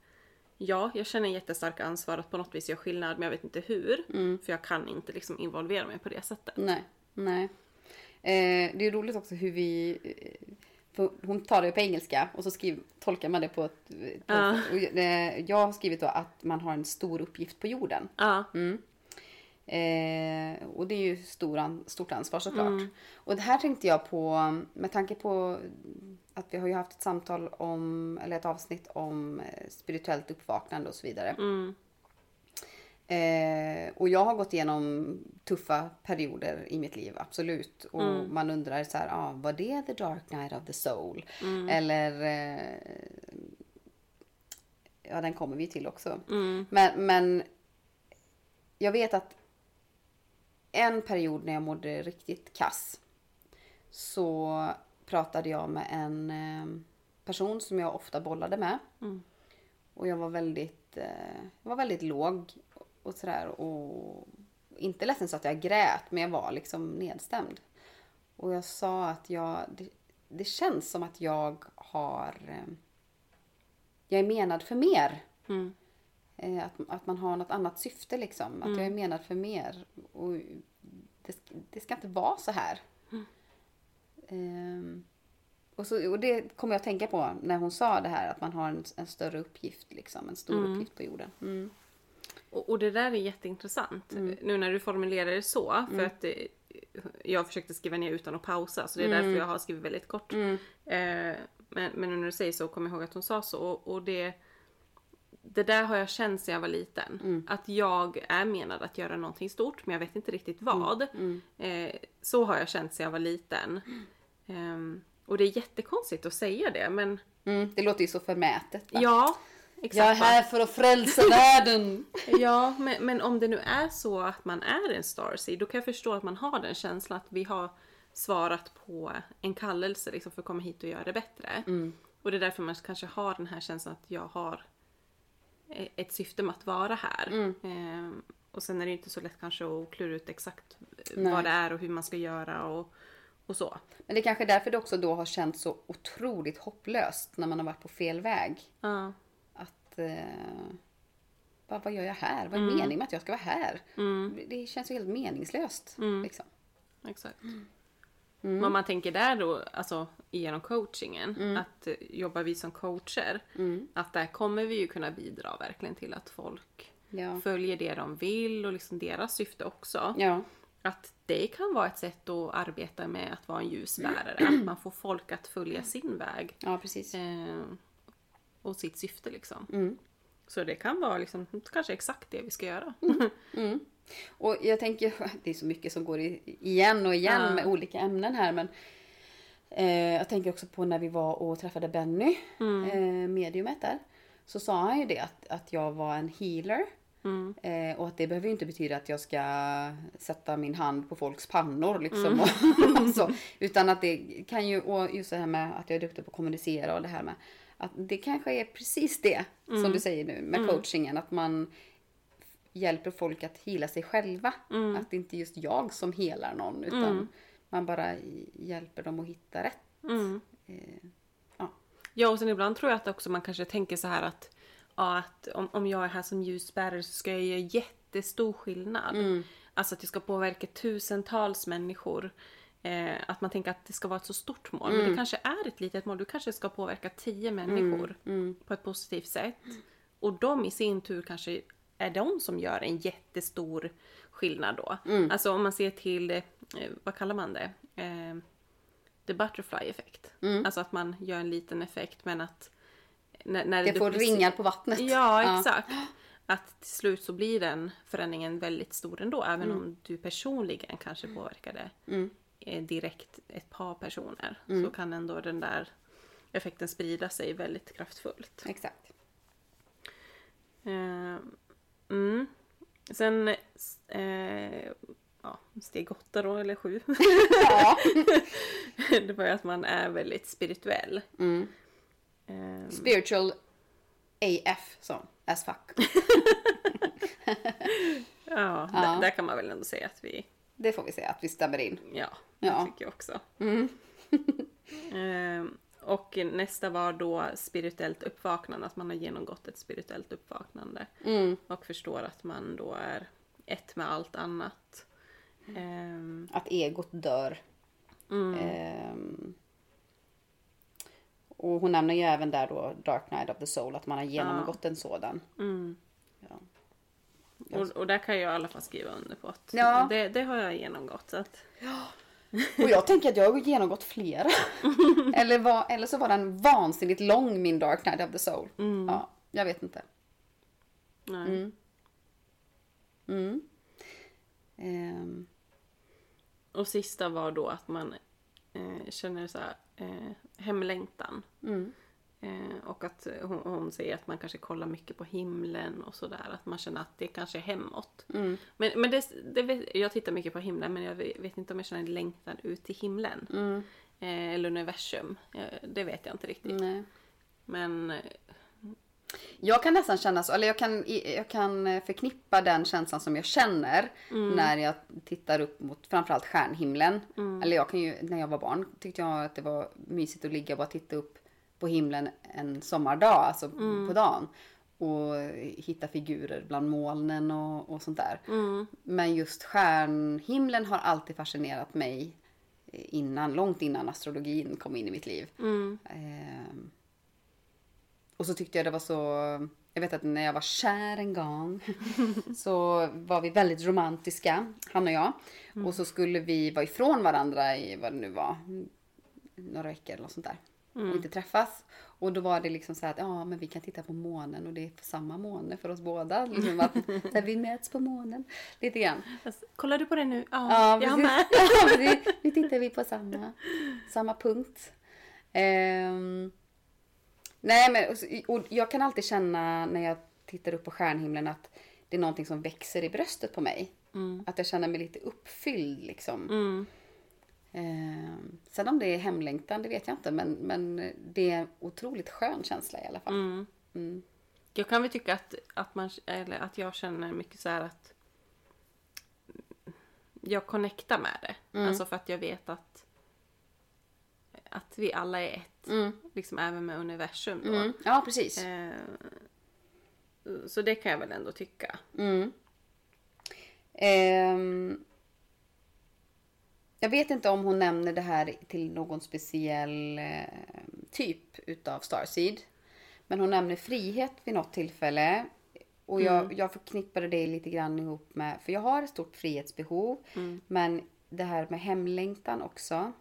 ja, jag känner jättestarkt ansvar att på något vis göra skillnad men jag vet inte hur. För jag kan inte liksom involvera mig på det sättet. Nej. Nej. Eh, det är roligt också hur vi... eh, För hon tar det på engelska och så skriv, tolkar man det på ett... På Ja. ett och, eh, jag har skrivit då att man har en stor uppgift på jorden. Ja, Mm. Eh, och det är ju stor an, stort ansvar såklart. Och det här tänkte jag på med tanke på att vi har ju haft ett samtal om, eller ett avsnitt om eh, spirituellt uppvaknande och så vidare. mm, Eh, och jag har gått igenom tuffa perioder i mitt liv, absolut. Och man undrar så här, ah, var det the dark night of the soul? mm, Eller... Eh, ja, den kommer vi till också. mm, Men, men jag vet att en period när jag mådde riktigt kass så pratade jag med en eh, person som jag ofta bollade med. Mm. Och jag var väldigt, eh, jag var väldigt låg och sådär. Och inte ledsen så att jag grät, men jag var liksom nedstämd. Och jag sa att jag, det, det känns som att jag har, eh, jag är menad för mer. mm, Eh, att, att man har något annat syfte liksom. Att jag är menad för mer. Och det, sk- det ska inte vara så här. Ehm, och, så, och det kommer jag att tänka på när hon sa det här. Att man har en, en större uppgift liksom. En stor uppgift på jorden. Mm. Och, och det där är jätteintressant. Nu när du formulerar det så. Mm. För att eh, jag försökte skriva ner utan att pausa. Så det är Mm. därför jag har skrivit väldigt kort. Eh, men, men nu när du säger så kommer jag ihåg att hon sa så. Och, och det, det där har jag känt sedan jag var liten. Mm. Att jag är menad att göra någonting stort men jag vet inte riktigt Mm. vad. Eh, så har jag känt sedan jag var liten. Mm. Ehm, och det är jättekonstigt att säga det men Mm. Det låter ju så förmätet. va? ja. jag är Exakt. va? här för att frälsa världen. Ja, men, men om det nu är så att man är en starseed, då kan jag förstå att man har den känslan att vi har svarat på en kallelse liksom, för att komma hit och göra det bättre. Och det är därför man kanske har den här känslan att jag har e- ett syfte med att vara här. Ehm, och sen är det ju inte så lätt kanske att klura ut exakt Nej. vad det är och hur man ska göra och, och så. Men det är kanske är därför det också då har känts så otroligt hopplöst. När man har varit på fel väg. Ja. att eh, vad, vad gör jag här? Vad är meningen med att jag ska vara här? Det, det känns ju helt meningslöst. Liksom. Exakt. Mm. Men om man tänker där då, alltså genom coachingen, att eh, jobbar vi som coacher, Mm. att där kommer vi ju kunna bidra verkligen till att folk Ja. följer det de vill och liksom deras syfte också. Ja. Att det kan vara ett sätt att arbeta med att vara en Mm. ljusbärare, att man får folk att följa sin väg ja, precis. eh, och sitt syfte liksom. Mm. Så det kan vara liksom, kanske exakt det vi ska göra. Mm. Och jag tänker, det är så mycket som går i, igen och igen Ja. med olika ämnen här. Men eh, jag tänker också på när vi var och träffade Benny, Mm. eh, mediumet där. Så sa han ju det att, att jag var en healer. Mm. Eh, och att det behöver ju inte betyda att jag ska sätta min hand på folks pannor liksom. Mm. Och, och så, utan att det kan ju, och just det här med att jag är duktig på att kommunicera och det här med att det kanske är precis det Mm. som du säger nu med coachingen. Att man hjälper folk att hila sig själva. Mm. Att det inte är just jag som helar någon utan man bara hjälper dem att hitta rätt. Mm. ja. Ja, och sen ibland tror jag att också man kanske tänker så här att, ja, att om, om jag är här som ljusbärare så ska jag göra jättestor skillnad. Alltså att jag ska påverka tusentals människor. Eh, att man tänker att det ska vara ett så stort mål. Men det kanske är ett litet mål. Du kanske ska påverka tio människor på ett positivt sätt. Och de i sin tur kanske är de som gör en jättestor skillnad då. Alltså om man ser till, eh, vad kallar man det? Eh, the butterfly effekt. Mm. Alltså att man gör en liten effekt men att... När, när Det får duplicerar- ringar på vattnet. Ja, exakt. Att till slut så blir den förändringen väldigt stor ändå, även Mm. om du personligen kanske påverkade eh, direkt ett par personer. Mm. Så kan ändå den där effekten sprida sig väldigt kraftfullt. Exakt. Eh, mm. Sen eh, ja, steg åtta då, eller sju, Ja. det var ju att man är väldigt spirituell. Mm. Eh, Spiritual AF som as fuck. ja, Ja. Där, där kan man väl ändå säga att vi Det får vi säga att vi stämmer in. Ja, Ja. Mm. det tycker jag också. Ehm, och nästa var då spirituellt uppvaknande, att man har genomgått ett spirituellt uppvaknande. Och förstår att man då är ett med allt annat. Mm. Ehm, Att egot dör. Eh, mm, Ehm. och hon nämner ju även där då Dark Knight of the Soul, att man har genomgått en sådan. mm. Ja. och, och där kan jag i alla fall skriva under på att Alltså. Ja. det, det har jag genomgått. Så att, Och jag tänker att jag har genomgått flera. eller, var, eller så var den vansinnigt lång, min Dark Knight of the Soul. Ja, jag vet inte. nej. Mm. Ehm, Och sista var då att man eh, känner så här, eh, hemlängtan. Mm. Eh, och att hon, hon säger att man kanske kollar mycket på himlen och sådär. Att man känner att det kanske är hemåt. Mm. Men, men det, det vet, jag tittar mycket på himlen men jag vet inte om jag känner en längtan ut till himlen. Mm. Eh, eller universum. Eh, det vet jag inte riktigt. nej. Men eh, Jag kan nästan känna så, eller jag kan, jag kan eh, förknippa den känslan som jag känner när jag tittar upp mot framförallt stjärnhimlen. Eller jag kan ju, när jag var barn tyckte jag att det var mysigt att ligga och bara titta upp på himlen en sommardag, alltså på dagen. Och hitta figurer bland molnen och, och sånt där. Men just stjärnhimlen har alltid fascinerat mig innan, långt innan astrologin kom in i mitt liv. mm. Ehm, och så tyckte jag det var så... Jag vet att när jag var kär en gång så var vi väldigt romantiska, han och jag. Och så skulle vi vara ifrån varandra i vad det nu var, några veckor eller något sånt där. Och inte träffas. Och då var det liksom så här att ja, men vi kan titta på månen och det är på samma måne för oss båda. Liksom att, så här, vi möts på månen. Lite grann. alltså, kollar du på det nu? Ja, Ja, jag precis. med. Ja, precis. nu tittar vi på samma, samma punkt. Ehm, nej, men och, så- och jag kan alltid känna när jag tittar upp på stjärnhimlen att det är någonting som växer i bröstet på mig. Att jag känner mig lite uppfylld liksom. Mm. Ehm, sen om det är hemlängtan, det vet jag inte. Men, men det är en otroligt skön känsla i alla fall. Mm. Jag kan väl tycka att, att, man, eller att jag känner mycket så här att jag connectar med det. Mm. Alltså för att jag vet att, att vi alla är ett. Liksom även med universum då. Mm. Ja, precis. Eh, Så det kan jag väl ändå tycka. Mm. Ehm, jag vet inte om hon nämner det här till någon speciell eh, typ utav Starseed. Men hon nämner frihet vid något tillfälle. Och jag, jag förknippade det lite grann ihop med, för jag har ett stort frihetsbehov. Men det här med hemlängtan också.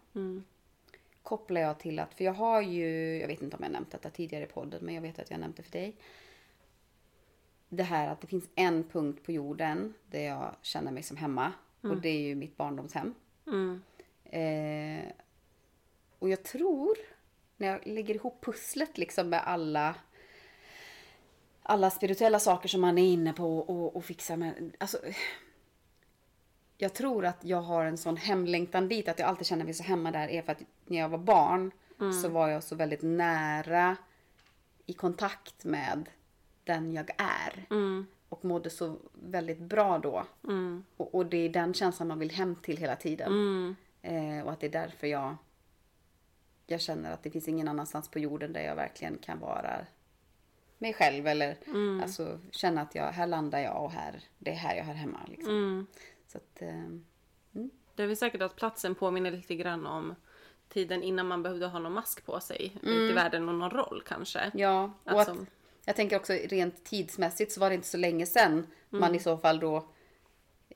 Kopplar jag till att, för jag har ju, jag vet inte om jag nämnt detta tidigare i podden, men jag vet att jag nämnt det för dig det här att det finns en punkt på jorden där jag känner mig som hemma. Och det är ju mitt barndomshem. Eh, och jag tror, när jag lägger ihop pusslet liksom med alla alla spirituella saker som man är inne på och, och fixar med. Alltså, jag tror att jag har en sån hemlängtan dit, att jag alltid känner mig så hemma där, är för att när jag var barn så var jag så väldigt nära i kontakt med den jag är. Och mådde så väldigt bra då. Och, och det är den känslan man vill hem till hela tiden. Eh, och att det är därför jag jag känner att det finns ingen annanstans på jorden där jag verkligen kan vara mig själv eller alltså, känna att jag, här landar jag och här, det är här jag hör hemma. Liksom. Så att, ehm, Det är väl säkert att platsen påminner lite grann om tiden innan man behövde ha någon mask på sig. Ute i världen och någon roll kanske. Mm. Ja, och Alltså- att, jag tänker också rent tidsmässigt så var det inte så länge sedan man i så fall då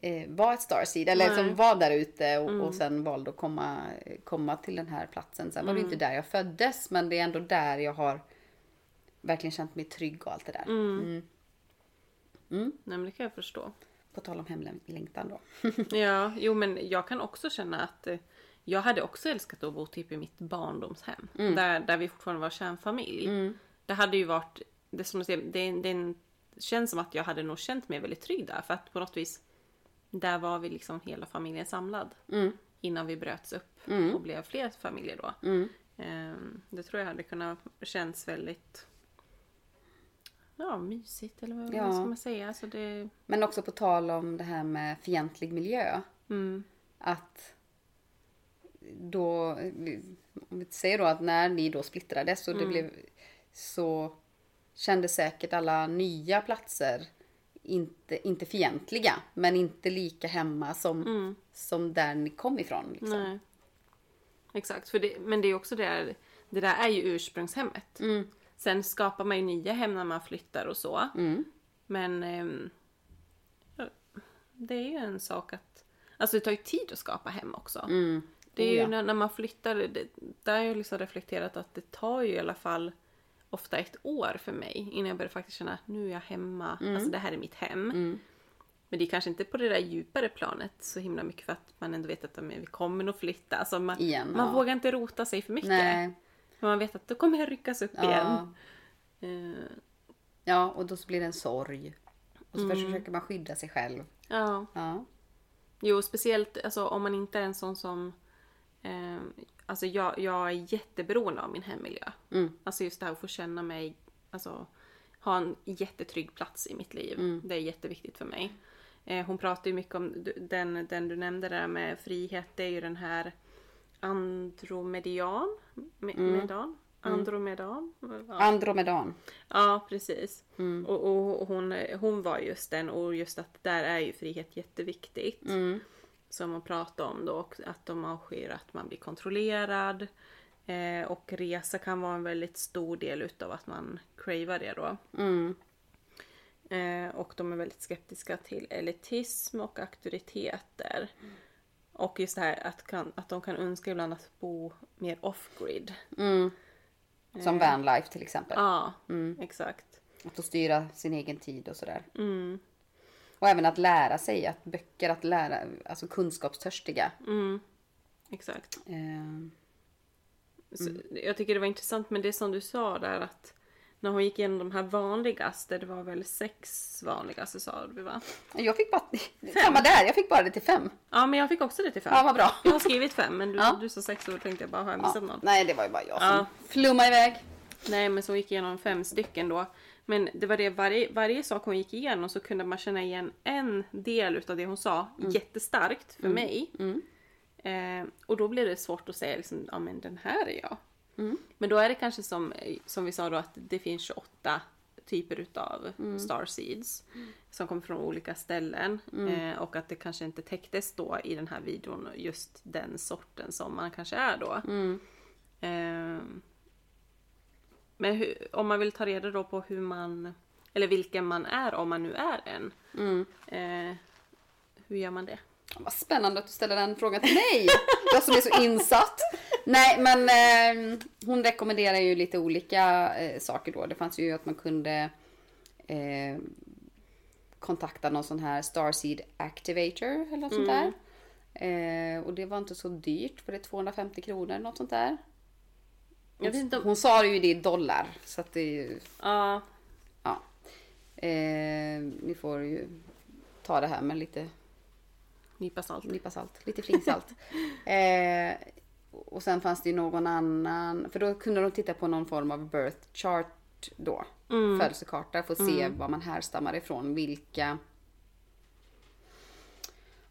eh, eh, var ett starseed eller Nej. som var där ute och, och sen valde att komma, komma till den här platsen. Sen var det inte där jag föddes men det är ändå där jag har verkligen känt mig trygg och allt det där. Nej, men det kan jag förstå. På tal om hemlängtan då. Ja, jo men jag kan också känna att eh, jag hade också älskat att bo typ i mitt barndomshem. Där, där vi fortfarande var kärnfamilj. Det hade ju varit, det, är som du säger, det, är en- det är en- känns som att jag hade nog känt mig väldigt trygg där. För att på något vis, där var vi liksom hela familjen samlad. Innan vi bröts upp och blev fler familjer då. Ehm, Det tror jag hade kunnat känns väldigt Ja, mysigt eller vad Ja. vad ska man säga? Alltså det, Men också på tal om det här med fientlig miljö. mm, att då, om vi säger då att när ni då splittrades och det blev så kände säkert alla nya platser inte, inte fientliga men inte lika hemma som, som där ni kom ifrån. Liksom. Nej. Exakt, för det, men det är också det där, det där är ju ursprungshemmet. Mm. Sen skapar man ju nya hem när man flyttar och så. Mm. Men ehm, det är ju en sak att, alltså det tar ju tid att skapa hem också. Det är Oh ju ja. när, när man flyttar, det, där har jag liksom reflekterat att det tar ju i alla fall ofta ett år för mig innan jag börjar faktiskt känna att nu är jag hemma, Mm. alltså det här är mitt hem. Men det är kanske inte på det där djupare planet så himla mycket för att man ändå vet att men, vi kommer nog flytta. Alltså man Igen, man ja. vågar inte rota sig för mycket. Nej. För man vet att då kommer jag ryckas upp Ja. igen. Eh, ja, och då så blir det en sorg. Och så försöker man skydda sig själv. ja. Ja. Jo, speciellt alltså, om man inte är en sån som... Eh, alltså jag, jag är jätteberoende av min hemmiljö. Mm. Alltså just det här att få känna mig... Alltså, ha en jättetrygg plats i mitt liv. Det är jätteviktigt för mig. Eh, hon pratar ju mycket om du- den, den du nämnde där med frihet. Det är ju den här andromedian. Me, medan? Andromedan? Ja. Andromedan. Ja, precis. Och, och och hon, hon var just den och just att där är ju frihet jätteviktigt. Som hon pratade om då, och att de avskyr att man blir kontrollerad. Eh, och resa kan vara en väldigt stor del utav att man cravar det då. Eh, och de är väldigt skeptiska till elitism och auktoriteter. Och just det här att, kan, att de kan önska ibland att bo mer off-grid. Som vanlife till exempel. Ja, exakt. Att få styra sin egen tid och sådär. Mm. Och även att lära sig, att böcker, att lära, alltså kunskapstörstiga. Exakt. Mm. Eh, Så Mm. Jag tycker det var intressant men det som du sa där att när hon gick igenom de här vanligaste, det var väl sex vanligaste sa du va? Eh, jag fick bara, samma där, jag fick bara det till fem. Ja men jag fick också det till fem. Ja, vad bra. Jag har skrivit fem men du, Ja. du sa sex och då tänkte jag bara har jag missat Ja. någon? Nej, det var ju bara jag som Ja. flummade iväg. Nej men så hon gick igenom fem stycken då. Men det var det, varje, varje sak hon gick igenom så kunde man känna igen en del utav det hon sa jättestarkt för mig. Eh, och då blir det svårt att säga liksom, ja men den här är jag. Men då är det kanske som, eh, som vi sa då att det finns 28 typer utav starseeds. Som kommer från olika ställen. Eh, och att det kanske inte täcktes då i den här videon just den sorten som man kanske är då. Eh, men hur, om man vill ta reda då på hur man, eller vilken man är om man nu är en. Eh, hur gör man det? Vad spännande att du ställer den frågan till mig. Jag som är så insatt. Nej, men eh, hon rekommenderar ju lite olika eh, saker då. Det fanns ju att man kunde eh, kontakta någon sån här Starseed Activator eller något sånt där. Mm. Eh, och det var inte så dyrt för det är 250 kronor eller något sånt där. Jag vet inte om... Hon sa ju det i dollar så att det är ju Ja, Ja. Eh, ni får ju ta det här med lite nypa salt. nypa salt, lite flingsalt. eh, och sen fanns det ju någon annan, för då kunde de titta på någon form av birth chart då. Födelsekarta för att se var man härstammar ifrån, vilka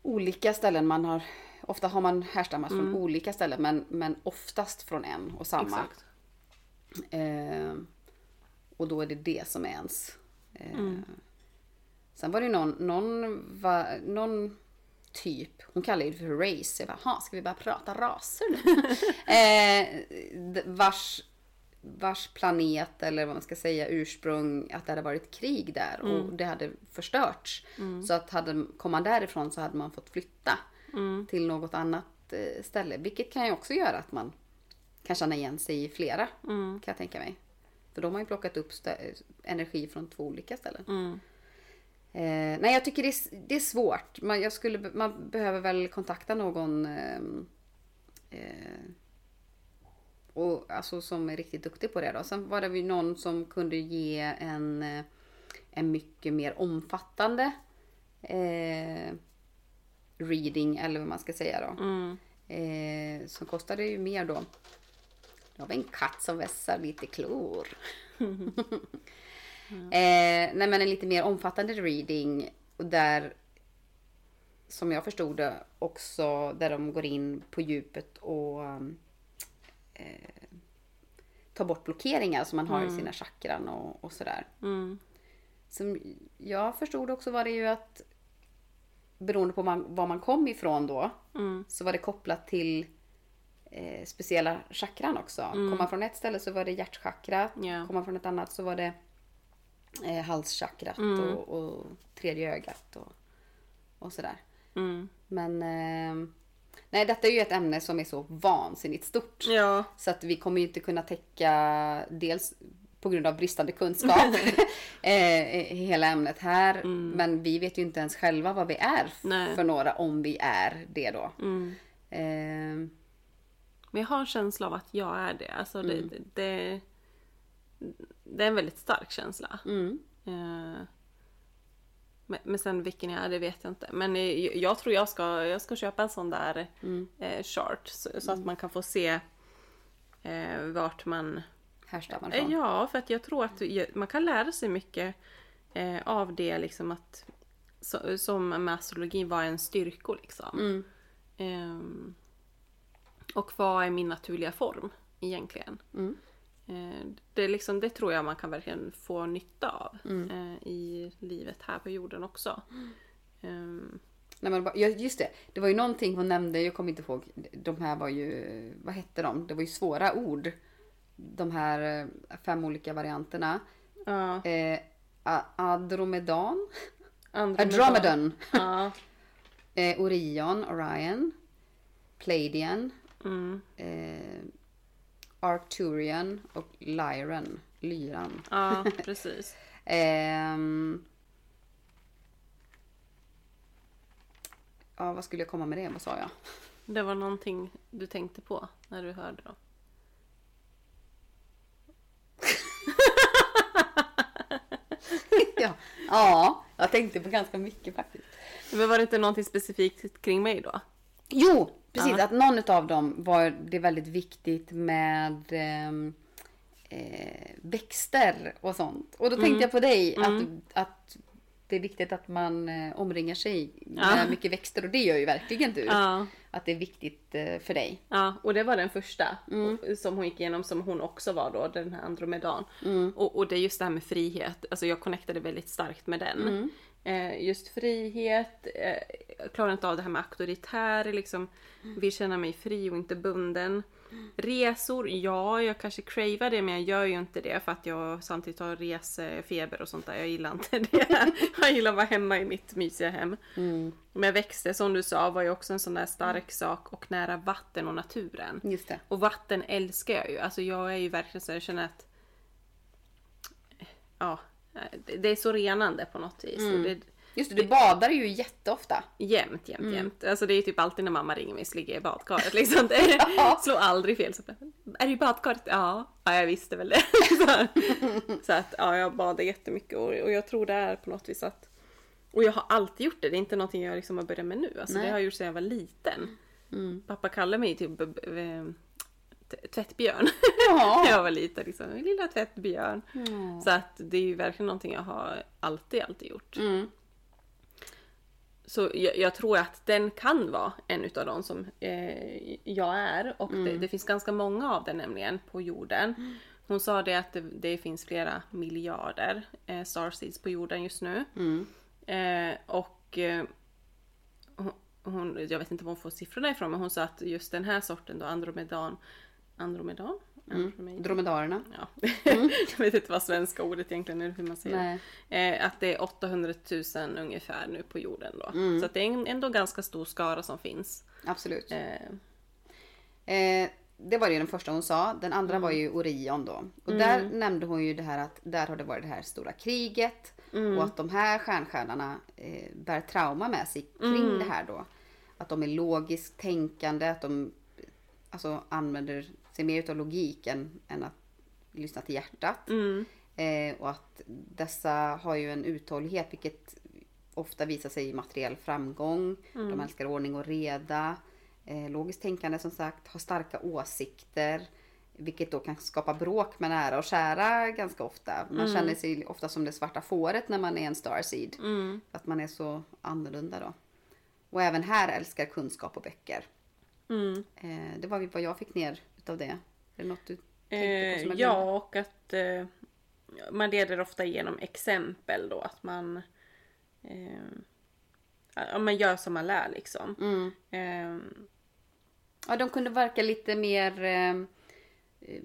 olika ställen man har, ofta har man härstammat från olika ställen men, men oftast från en och samma. Exakt. Eh, och då är det det som är ens. Eh, Sen var det ju någon, någon, va, någon typ, hon kallar det för race. Jag bara, "Jaha, ska vi bara prata raser nu? eh, d- vars vars planet eller vad man ska säga ursprung att det hade varit krig där och det hade förstörts. Så att hade, kom man därifrån så hade man fått flytta till något annat eh, ställe. Vilket kan ju också göra att man kan känna igen sig i flera kan jag tänka mig. För de har ju plockat upp stö- energi från två olika ställen. Eh, nej, jag tycker det är, s- det är svårt. Man, jag skulle, be- man behöver väl kontakta någon ehm, eh, och, alltså, som är riktigt duktig på det. Då. Sen var det ju någon som kunde ge en, eh, en mycket mer omfattande eh, reading, eller vad man ska säga då. Mm. Eh, som kostade ju mer då. Nu har vi en katt som vässar lite klor. eh, nej men en lite mer omfattande reading. Och där, som jag förstod det, också där de går in på djupet och um, eh, tar bort blockeringar som man har i sina chakran och, och sådär. Mm. Som jag förstod också var det ju att beroende på man, var man kom ifrån då Mm. så var det kopplat till eh, speciella chakran också. Kom man från ett ställe så var det hjärtchakrat. Mm. Ja. Kom man från ett annat så var det eh, halschakrat Mm. och, och tredje ögat och, och sådär. Mm. Men eh, nej, detta är ju ett ämne som är så vansinnigt stort. Ja. Så att vi kommer ju inte kunna täcka dels på grund av bristande kunskap eh, hela ämnet här. Men vi vet ju inte ens själva vad vi är f- Mm. Nej. för några om vi är det då. Mm. Eh, Men jag har en känsla av att jag är det. Alltså det, det, det, det är en väldigt stark känsla. mm, Eh, Men, men sen vilken jag är, det vet jag inte. Men eh, jag- jag tror jag ska, jag ska köpa en sån där eh, chart så, så att man kan få se eh, vart man... härstammar Eh, från. Ja, för att jag tror att ju- man kan lära sig mycket eh, av det liksom att så, som med astrologin, vad är en styrko liksom? Mm. Ehm, och vad är min naturliga form egentligen? Mm. Eh, Det, är liksom, det tror jag man kan verkligen få nytta av Mm. eh, i livet här på jorden också. Ehm, Nej, men, bara- ja, just det, det var ju någonting hon nämnde, jag kommer inte ihåg. De här var ju, vad hette de? Det var ju svåra ord. De här eh, fem olika varianterna. Ja, Eh, a- Adromedan? Andromeda. Andromedan. Ja, Eh, Orion, Orion. Pleiadian. mm, Eh, Arcturian och Lyran. Lyran. ja, precis. Ehm. Ja, vad skulle jag komma med det? Vad sa jag? Det var någonting du tänkte på när du hörde dem. ja. ja, jag tänkte på ganska mycket faktiskt. Men var det inte någonting specifikt kring mig då? Jo, precis. Att någon av dem var det väldigt viktigt med ehm, eh, växter och sånt. Och då Mm. tänkte jag på dig att, att det är viktigt att man eh, omringar sig med Ja. mycket växter och det gör ju verkligen du. Ja. Att det är viktigt eh, för dig. Ja, och det var den första och- som hon gick igenom som hon också var då, den här Andromedan. Mm. Och, och det är just det här med frihet, alltså jag connectade väldigt starkt med den. Eh, just frihet, eh, jag klarar inte av det här med auktoritär, liksom vill känna mig fri och inte bunden. Resor, ja jag kanske cravar det men jag gör ju inte det för att jag samtidigt har resefeber och sånt där. Jag gillar inte det. Jag gillar att vara hemma i mitt mysiga hem. Men växter som du sa var ju också en sån där stark sak och nära vatten och naturen. Just det. Och vatten älskar jag ju. Alltså jag är ju verkligen så jag känner att ja, det- det är så renande på något vis. Mm. Och det, Just det, du badar ju jätteofta. Jämt, jämt, Mm. jämt. Alltså det är typ alltid när mamma ringer mig så ligger jag i badkaret liksom. Det Ja. slår aldrig fel. Så bara, är du i badkaret? Ja. ja, jag visste väl det. så, så att ja, jag badar jättemycket och, och jag tror det är på något vis att och jag har alltid gjort det, det är inte någonting jag liksom har börjat med nu. Alltså, det Nej. Mm. har jag gjort sedan jag var liten. Pappa kallade mig typ b- b- eh, t- tvättbjörn Ja. när jag var liten. Liksom. Lilla tvättbjörn. Mm. Så att det är ju verkligen någonting jag har alltid, alltid gjort. Så jag, jag tror att den kan vara en utav de som eh, jag är och det, det finns ganska många av det nämligen på jorden. Hon sa det att det, det finns flera miljarder eh, starseeds på jorden just nu. Eh, och eh, hon- hon, jag vet inte var hon får siffrorna ifrån men hon sa att just den här sorten då, Andromedan, Andromedan? Mm. för mig. Dromedarerna. Ja. jag vet inte vad svenska ordet egentligen är hur man säger det. Mm. Nej. Eh, Att det är 800 000 ungefär nu på jorden då. Mm. Så att det är en- ändå ganska stor skara som finns. Absolut. Eh, Eh, det var ju den första hon sa. Den Mm. andra var ju Orion då. Och där nämnde hon ju det här att där har det varit det här stora kriget. Mm. Och att de här stjärnstjärnorna eh, bär trauma med sig kring Mm. det här då. Att de är logiskt tänkande, att de alltså, använder sig mer utav logiken än att lyssna till hjärtat. Mm. Eh, och att dessa har ju en uthållighet vilket ofta visar sig i materiell framgång. Mm. De älskar ordning och reda. Eh, logiskt tänkande som sagt, har starka åsikter. Vilket då kan skapa bråk med nära och kära ganska ofta. Man känner sig ofta som det svarta fåret när man är en starseed. Mm. Att man är så annorlunda då. Och även här älskar kunskap och böcker. Mm. Eh, det var ju vad jag fick ner utav det. Är det något du tänkte på som Eh, jag ja, och att eh, man leder ofta genom exempel då. Att man, eh, ja, man gör som man lär liksom. glömde? Mm. Eh, Ja, de kunde verka lite mer eh, eh,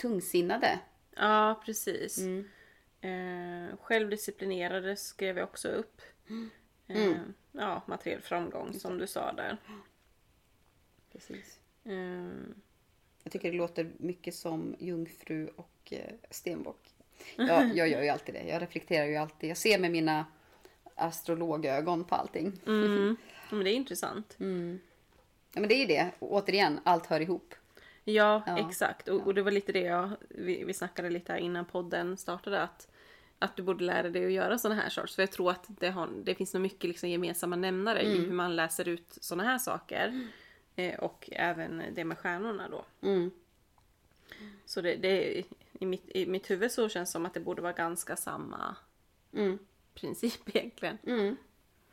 tungsinnade. ja, precis. Mm. Eh, självdisciplinerade skrev jag också upp. Mm. Eh, ja, materiell framgång som du sa där. Precis. Eh, Jag tycker det låter mycket som jungfru och eh, stenbock. Ja, jag gör ju alltid det. Jag reflekterar ju alltid. Jag ser med mina astrologögon på allting. mm. ja, men det är intressant. Mm. Ja, men det är ju det. Och återigen, allt hör ihop. Ja, Ja. exakt. Och, och det var lite det jag, vi, vi snackade lite här innan podden startade. Att, att du borde lära dig att göra sådana här sorts. För jag tror att det, har, det finns nog mycket liksom gemensamma nämnare i Mm. hur man läser ut sådana här saker. Eh, och även det med stjärnorna då. Mm. Så det, det, är- i, mitt, i mitt huvud så känns det som att det borde vara ganska samma Mm. princip egentligen. Mm.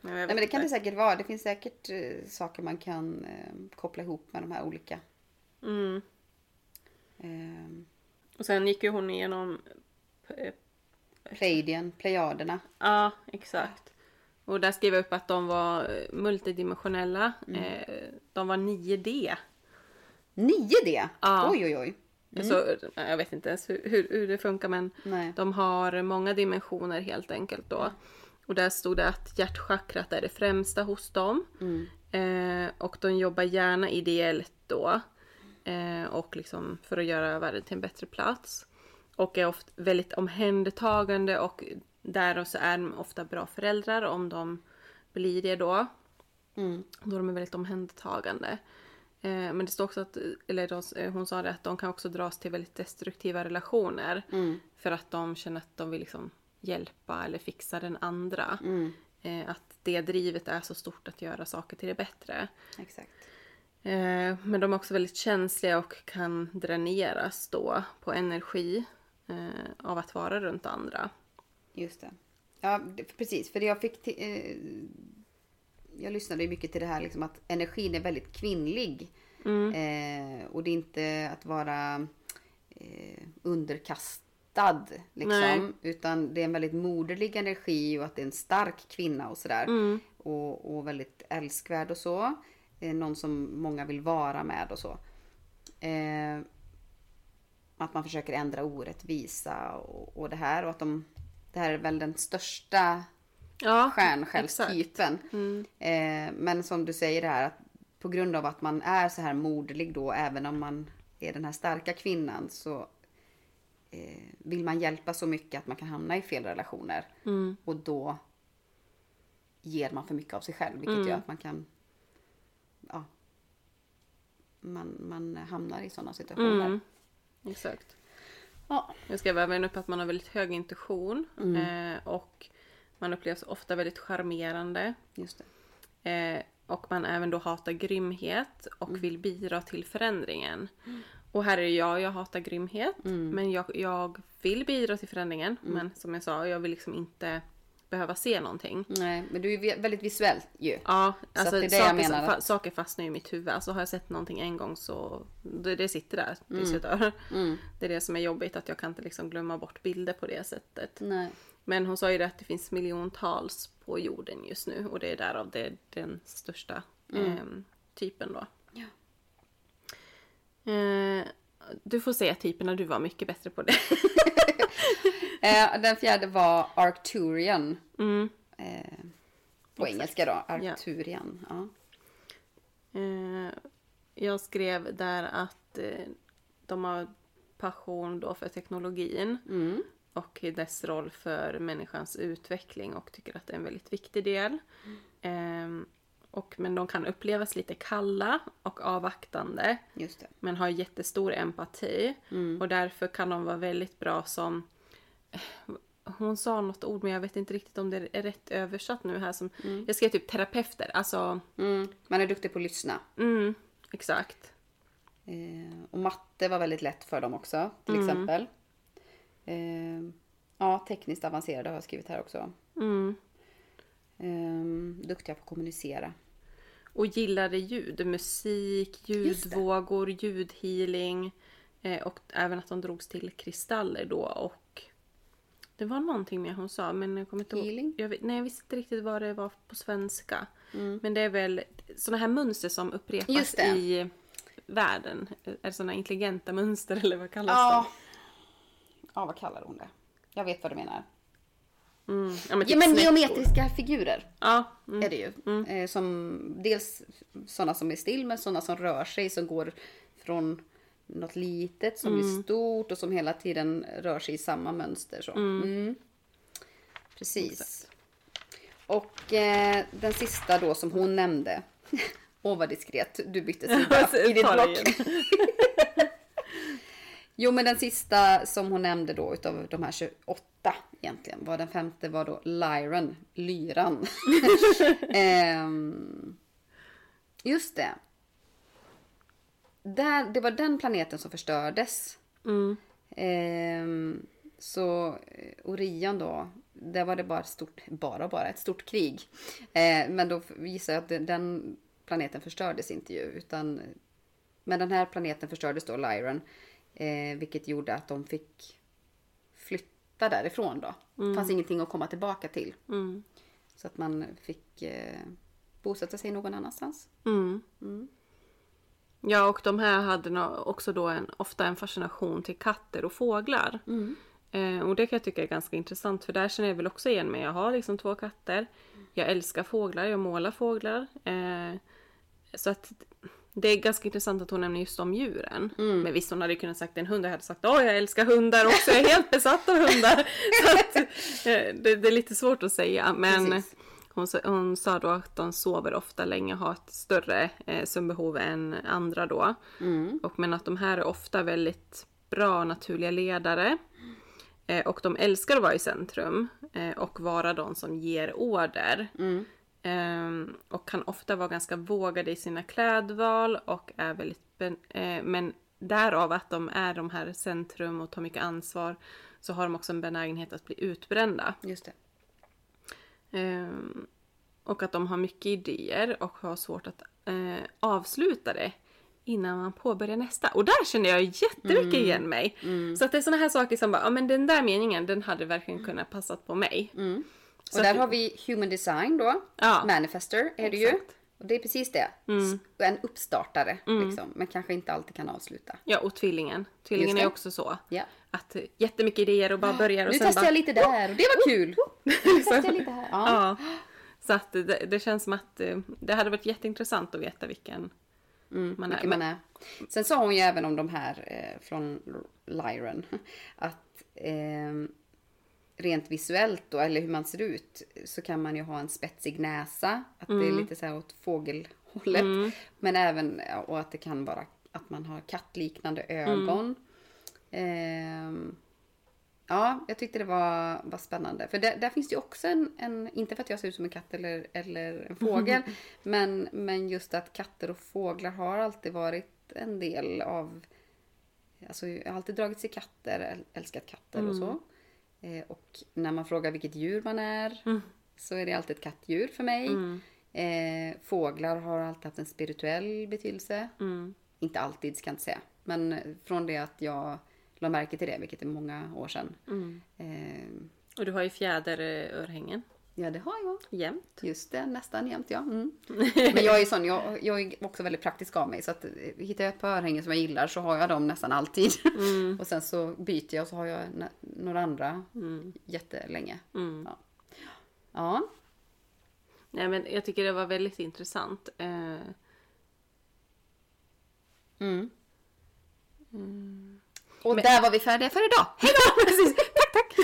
Men, jag Nej, men det vet kan det inte. säkert vara. Det finns säkert eh, saker man kan eh, koppla ihop med de här olika. mm. Eh, Och sen gick ju hon igenom... eh, Plejdien, plejaderna. Ja, exakt. Och där skrev jag upp att de var eh, multidimensionella. Eh, De var 9D. 9D! Ja. Oj, oj, oj. Så, Alltså, jag vet inte ens hur, hur, hur det funkar men Nej. de har många dimensioner helt enkelt då. Och där stod det att hjärtchakrat är det främsta hos dem. Eh, och de jobbar gärna ideellt då. Eh, och liksom för att göra världen till en bättre plats. Och är ofta väldigt omhändertagande och där så är de ofta bra föräldrar om de blir det då. Mm. Då de är väldigt omhändertagande. Eh, men det står också att, eller de, hon sa det att de kan också dras till väldigt destruktiva relationer. För att de känner att de vill liksom hjälpa eller fixa den andra. Mm. Eh, att det drivet är så stort att göra saker till det bättre. Exakt. Eh, men de är också väldigt känsliga och kan dräneras då på energi eh, av att vara runt andra. Just det. Ja, det, precis. För jag fick... ti- eh, jag lyssnade ju mycket till det här liksom att energin är väldigt kvinnlig. Mm. Eh, och det är inte att vara eh, underkastad. Nej. Liksom, utan det är en väldigt moderlig energi och att det är en stark kvinna och sådär. Mm. Och, och väldigt älskvärd och så. Eh, någon som många vill vara med och så. Eh, att man försöker ändra orättvisa och, och det här. Och att de, det här är väl den största Ja, Mm. stjärnskällstypen. Eh, men som du säger det här att på grund av att man är så här moderlig då, även om man är den här starka kvinnan, så eh, vill man hjälpa så mycket att man kan hamna i fel relationer. Mm. Och då ger man för mycket av sig själv, vilket Mm. gör att man kan... Ja, man, man hamnar i sådana situationer. Mm. Exakt. Ja. Jag skrev även upp att man har väldigt hög intuition Mm. eh, och man upplevs ofta väldigt charmerande. Just det. Eh, och man även då hatar grymhet och Mm. vill bidra till förändringen. Och här är jag, jag hatar grymhet. Mm. Men jag, jag vill bidra till förändringen. Men som jag sa, jag vill liksom inte behöva se någonting. Nej, men du är ju väldigt visuell ju. Ja, alltså Mm. det är det jag saker, menar. fa- saker fastnar ju i mitt huvud. Alltså har jag sett någonting en gång så det, det sitter där tills Mm. jag dör. Det är det som är jobbigt, att jag kan inte liksom glömma bort bilder på det sättet. Nej. Men hon sa ju det att det finns miljontals på jorden just nu och det är därav det, den största ehm, typen då. Ja. Eh, Du får säga typerna, du var mycket bättre på det. Eh, den fjärde var Arcturian. Eh, på engelska då, Arcturian. Ja. Eh, jag skrev där att eh, de har passion då för teknologin Mm. och dess roll för människans utveckling och tycker att det är en väldigt viktig del. Eh, och, men de kan upplevas lite kalla och avvaktande Just det. men har jättestor empati och därför kan de vara väldigt bra som hon sa något ord men jag vet inte riktigt om det är rätt översatt nu här som jag skrev typ terapeuter, alltså Mm. Man är duktig på att lyssna. mm, exakt. Eh, och matte var väldigt lätt för dem också, till exempel. Eh, ja, tekniskt avancerade har jag skrivit här också. Mm. Eh, duktiga på att kommunicera. Och gillade ljud, musik, Just det. ljudvågor, ljudhealing eh, och även att de drogs till kristaller då och det var någonting mer hon sa men jag kommer inte Healing? ihåg. Jag vet, nej jag visste inte riktigt vad det var på svenska. Men det är väl sådana här mönster som Mm. upprepas Just det. i världen. Eh, Är sådana intelligenta mönster eller vad kallas Ja. ja, vad kallar hon det? Jag vet vad du menar. de? Mm. Ja men, typ Ja, men snäckor. geometriska figurer Ja, mm. är det ju. Eh, som, dels sådana som är still, men sådana som rör sig, som går från något litet som Mm. blir stort och som hela tiden rör sig i samma mönster. Så. Mm. Precis. Och eh, den sista då som hon nämnde. Åh vad diskret, du bytte sida Så i ditt tar det block. igen. Jo men den sista som hon nämnde då utav de här 28 egentligen var den femte var då Lyran, Lyran. Ehm, just det. Där, det var den planeten som förstördes. Mm. Ehm, så eh, Orion då, där var det bara ett stort, bara, bara ett stort krig. Eh, men då gissar jag att den- den planeten förstördes inte ju, utan men den här planeten förstördes då, Lyran, eh, vilket gjorde att de fick flytta därifrån då. Det fanns ingenting att komma tillbaka till. Mm. Så att man fick eh, bosätta sig någon annanstans. Mm. Ja, och de här hade nå- också då en, ofta en fascination till katter och fåglar. Eh, och det kan jag tycka är ganska intressant för där känner jag väl också igen mig. Jag har liksom två katter. Jag älskar fåglar, jag målar fåglar. Eh, så att det är ganska intressant att hon nämner just de djuren. Men visst, hon hade ju kunnat sagt en hund. Jag hade sagt åh jag älskar hundar också. Jag är helt besatt av hundar. Så att, eh, det, det är lite svårt att säga. Men Precis. hon, sa- hon sa då att de sover ofta länge, har ett större eh, sömnbehov än andra då. Och, men att de här är ofta väldigt bra naturliga ledare. Eh, och de älskar att vara i centrum eh, och vara de som ger order. Ehm, och kan ofta vara ganska vågade i sina klädval och är väldigt... Ben- eh, men därav att de är de här centrum och tar mycket ansvar så har de också en benägenhet att bli utbrända. Just det. Ehm, och att de har mycket idéer och har svårt att eh, avsluta det innan man påbörjar nästa. Och där känner jag jättemycket Mm. igen mig. Så att det är såna här saker som bara, ja men den där meningen den hade verkligen kunnat passat på mig. Mm. Och där har vi Human Design då. Ja. Manifester är det ju. Exakt. Mm. Och det är precis det. S- En uppstartare liksom. Men kanske inte alltid kan avsluta. Ja, och tvillingen. Tvillingen Just det. är också så. Ja. Att eh, jättemycket idéer och bara börjar och Ah, Nu sen testar bara... jag lite där och det var kul. Nu testar jag lite här. Ja. Ja. Så att det, det känns som att eh, det hade varit jätteintressant att veta vilken man är. Mm, Vilken man är. Sen sa hon ju även om de här eh, från Lyran. Att ehm, rent visuellt då, eller hur man ser ut. Så kan man ju ha en spetsig näsa. Att det är lite så här åt fågelhållet. Men även, ja, och att det kan vara att man har kattliknande ögon. Ehm, Ja, jag tyckte det var, var spännande. För där, där finns det ju också en, en, inte för att jag ser ut som en katt eller, eller en fågel, men, men just att katter och fåglar har alltid varit en del av, alltså jag har alltid dragits till katter, äl- älskat katter och så. Eh, och när man frågar vilket djur man är så är det alltid ett kattdjur för mig. Eh, fåglar har alltid haft en spirituell betydelse. Mm. Inte alltid ska jag inte säga, men eh, från det att jag la märke till det, vilket är många år sedan. Eh, Och du har ju fjäderörhängen. Ja, det har jag. jämt. Just det, nästan jämt ja. Mm. Men jag är sån, jag, jag är också väldigt praktisk av mig. Så att eh, hittar jag ett par örhängen som jag gillar så har jag dem nästan alltid. och sen så byter jag och så har jag nä- några andra jättelänge. Mm. Ja. ja. Nej, men jag tycker det var väldigt intressant. Eh, Mm. Och där var vi färdiga för idag. Hej då! Precis. Tack, tack.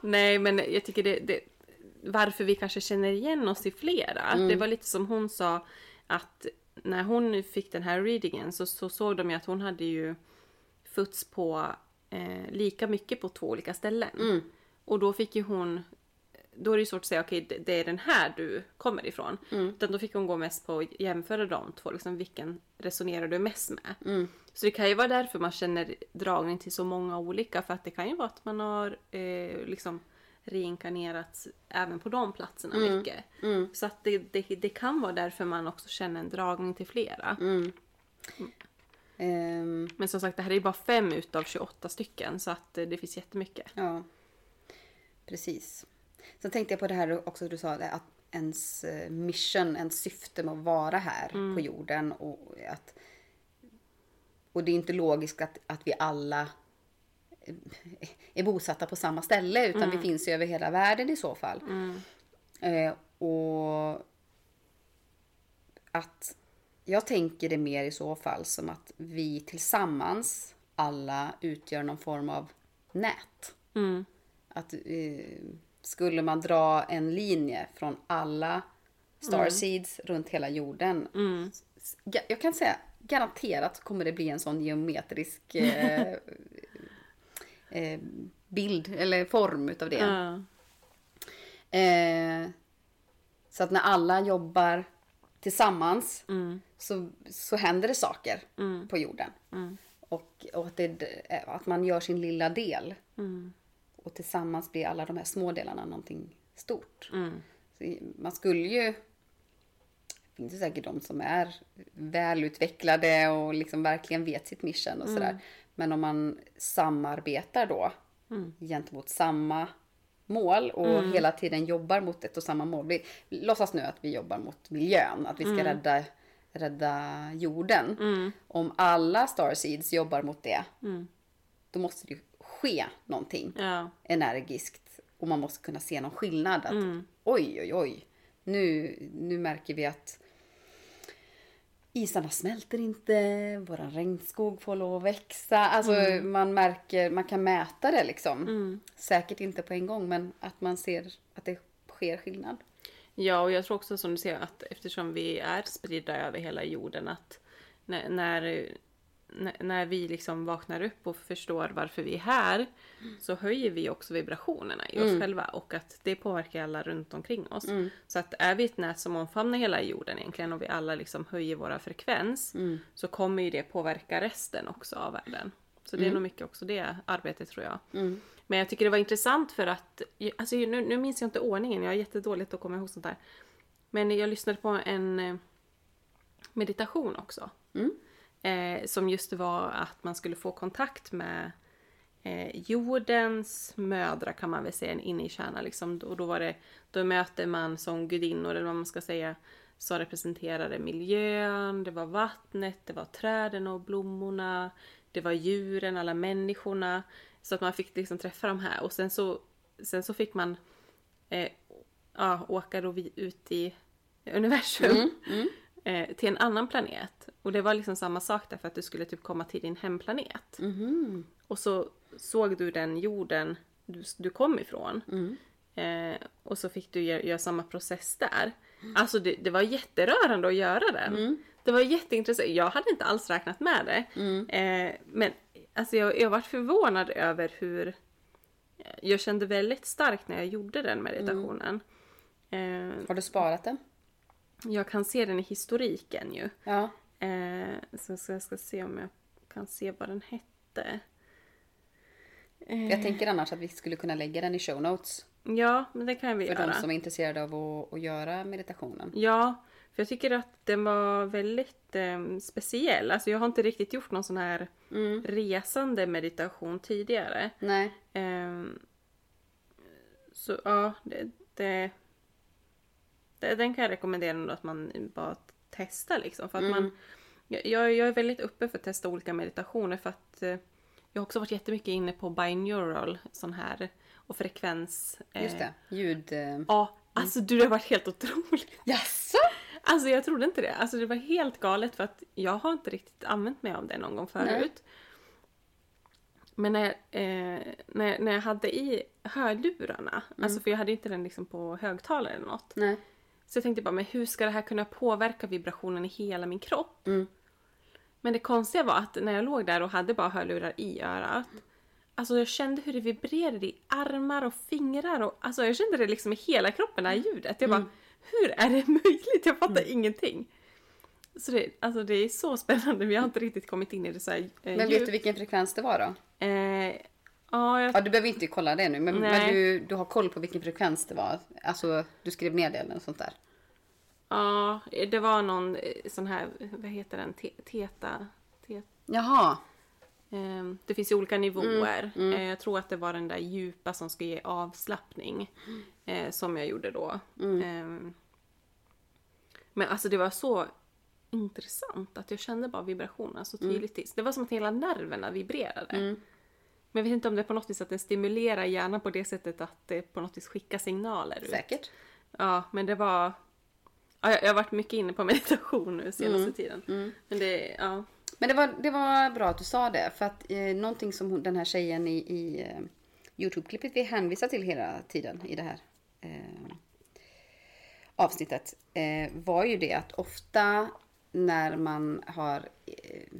nej, men jag tycker det, det... Varför vi kanske känner igen oss i flera. Det var lite som hon sa att när hon fick den här readingen så, så såg de ju att hon hade ju fötts på eh, lika mycket på två olika ställen. Och då fick ju hon då är det ju svårt att säga okej det- det är den här du kommer ifrån. Utan då fick hon gå mest på att jämföra de två, liksom, vilken resonerar du mest med? Så det kan ju vara därför man känner dragning till så många olika för att det kan ju vara att man har eh, liksom reinkarnerats även på de platserna mycket. Så att det, det, det kan vara därför man också känner en dragning till flera. Ehm, Men som sagt det här är ju bara fem utav 28 stycken så att eh, det finns jättemycket. Ja, precis. Sen tänkte jag på det här också du sa, det, att ens eh, mission, ens syfte med att vara här på jorden. Och, att, och det är inte logiskt att, att vi alla eh, är bosatta på samma ställe utan vi finns ju över hela världen i så fall. Eh, och att jag tänker det mer i så fall som att vi tillsammans alla utgör någon form av nät. Att eh, skulle man dra en linje från alla starseeds runt hela jorden. s- ga- Jag kan säga garanterat kommer det bli en sån geometrisk eh, eh, bild eller form utav det. Ja. Eh, så att när alla jobbar tillsammans Mm. så, så händer det saker på jorden. Mm. Och, och att, det, eh, att man gör sin lilla del. Mm. Och tillsammans blir alla de här små delarna någonting stort. Mm. Så man skulle ju... Det finns ju säkert de som är välutvecklade och liksom verkligen vet sitt mission och sådär. Men om man samarbetar då gentemot samma mål och hela tiden jobbar mot ett och samma mål. Vi, låtsas nu att vi jobbar mot miljön, att vi ska rädda, rädda jorden. Om alla starseeds jobbar mot det, då måste det ju ske någonting Ja. energiskt och man måste kunna se någon skillnad. Att, Mm. Oj, oj, oj. Nu, nu märker vi att isarna smälter inte, våran regnskog får lov att växa. Alltså Mm. man märker, man kan mäta det liksom. Säkert inte på en gång men att man ser att det sker skillnad. Ja, och jag tror också som du säger att eftersom vi är spridda över hela jorden att när, när, när- när vi liksom vaknar upp och förstår varför vi är här så höjer vi också vibrationerna i oss själva och att det påverkar alla runt omkring oss. Så att är vi ett nät som omfamnar hela jorden egentligen och vi alla liksom höjer våra frekvens så kommer ju det påverka resten också av världen. Så det är nog mycket också det arbetet tror jag. Men jag tycker det var intressant för att, alltså nu, nu minns jag inte ordningen, jag är jättedåligt att komma ihåg sånt där. Men jag lyssnade på en eh, meditation också. Eh, som just var att man skulle få kontakt med eh, jordens mödrar kan man väl säga, en inne i kärnan. Liksom. Och då, var det, då möter man som gudinnor, eller vad man ska säga, som representerade miljön, det var vattnet, det var träden och blommorna, det var djuren, alla människorna. Så att man fick liksom träffa de här och sen så, sen så fick man eh, ja, åka då vi ut i universum Eh, till en annan planet. Och det var liksom samma sak därför att du skulle typ komma till din hemplanet. Och så såg du den jorden du, du kom ifrån. Mm. Eh, och så fick du göra, göra samma process där. Alltså det, det var jätterörande att göra den. Mm. Det var jätteintressant. Jag hade inte alls räknat med det. Mm. Eh, men alltså jag, jag var förvånad över hur... eh, Jag kände väldigt starkt när jag gjorde den meditationen. Eh, Har du sparat den? jag kan se den i historiken ju. Ja. Eh, så, så jag ska se om jag kan se vad den hette. Eh. Jag tänker annars att vi skulle kunna lägga den i show notes. Ja, men det kan vi För göra. de som är intresserade av att, att göra meditationen. Ja, för jag tycker att den var väldigt eh, speciell. Alltså jag har inte riktigt gjort någon sån här Mm. resande meditation tidigare. Nej. Ehm, så ja, det, det, det, den kan jag rekommendera ändå att man bara testar liksom. För att Mm. man, jag, jag är väldigt uppe för att testa olika meditationer för att eh, jag har också varit jättemycket inne på binaural sån här och frekvens. eh, Just det, ljud... eh, Ja, alltså du det har varit helt otroligt. Jaså? Alltså jag trodde inte det. Alltså det var helt galet för att jag har inte riktigt använt mig av det någon gång förut. Men när, eh, när, när jag hade i hörlurarna, alltså för jag hade inte den liksom på högtalare eller något. Nej. Så jag tänkte bara, men hur ska det här kunna påverka vibrationen i hela min kropp? Mm. Men det konstiga var att när jag låg där och hade bara hörlurar i örat. Alltså jag kände hur det vibrerade i armar och fingrar och alltså jag kände det liksom i hela kroppen, det här ljudet. Jag Mm. bara, hur är det möjligt? Jag fattar ingenting. Så det, alltså det är så spännande, vi har inte riktigt kommit in i det så här eh, Men vet djupt. du vilken frekvens det var då? Eh, ja, jag, Ja, du behöver inte kolla det nu, men, Nej. men du, du har koll på vilken frekvens det var? Alltså, du skrev ner det eller något sånt där? ja, det var någon eh, sån här, vad heter den, Te- teta? teta. Jaha. Ehm, Det finns ju olika nivåer. Eh, Jag tror att det var den där djupa som ska ge avslappning eh, som jag gjorde då. Ehm, Men alltså det var så intressant att jag kände bara vibrationerna så tydligt. Det var som att hela nerverna vibrerade. Men jag vet inte om det är på något vis att den stimulerar hjärnan på det sättet att det på något vis skickar signaler ut. Säkert. Ja, men det var... Ja, jag jag har varit mycket inne på meditation nu senaste tiden. Men det, ja. Men det var, det var bra att du sa det, för att eh, någonting som hon, den här tjejen i, i eh, Youtube-klippet vi hänvisar till hela tiden i det här eh, avsnittet eh, var ju det att ofta när man har... Eh,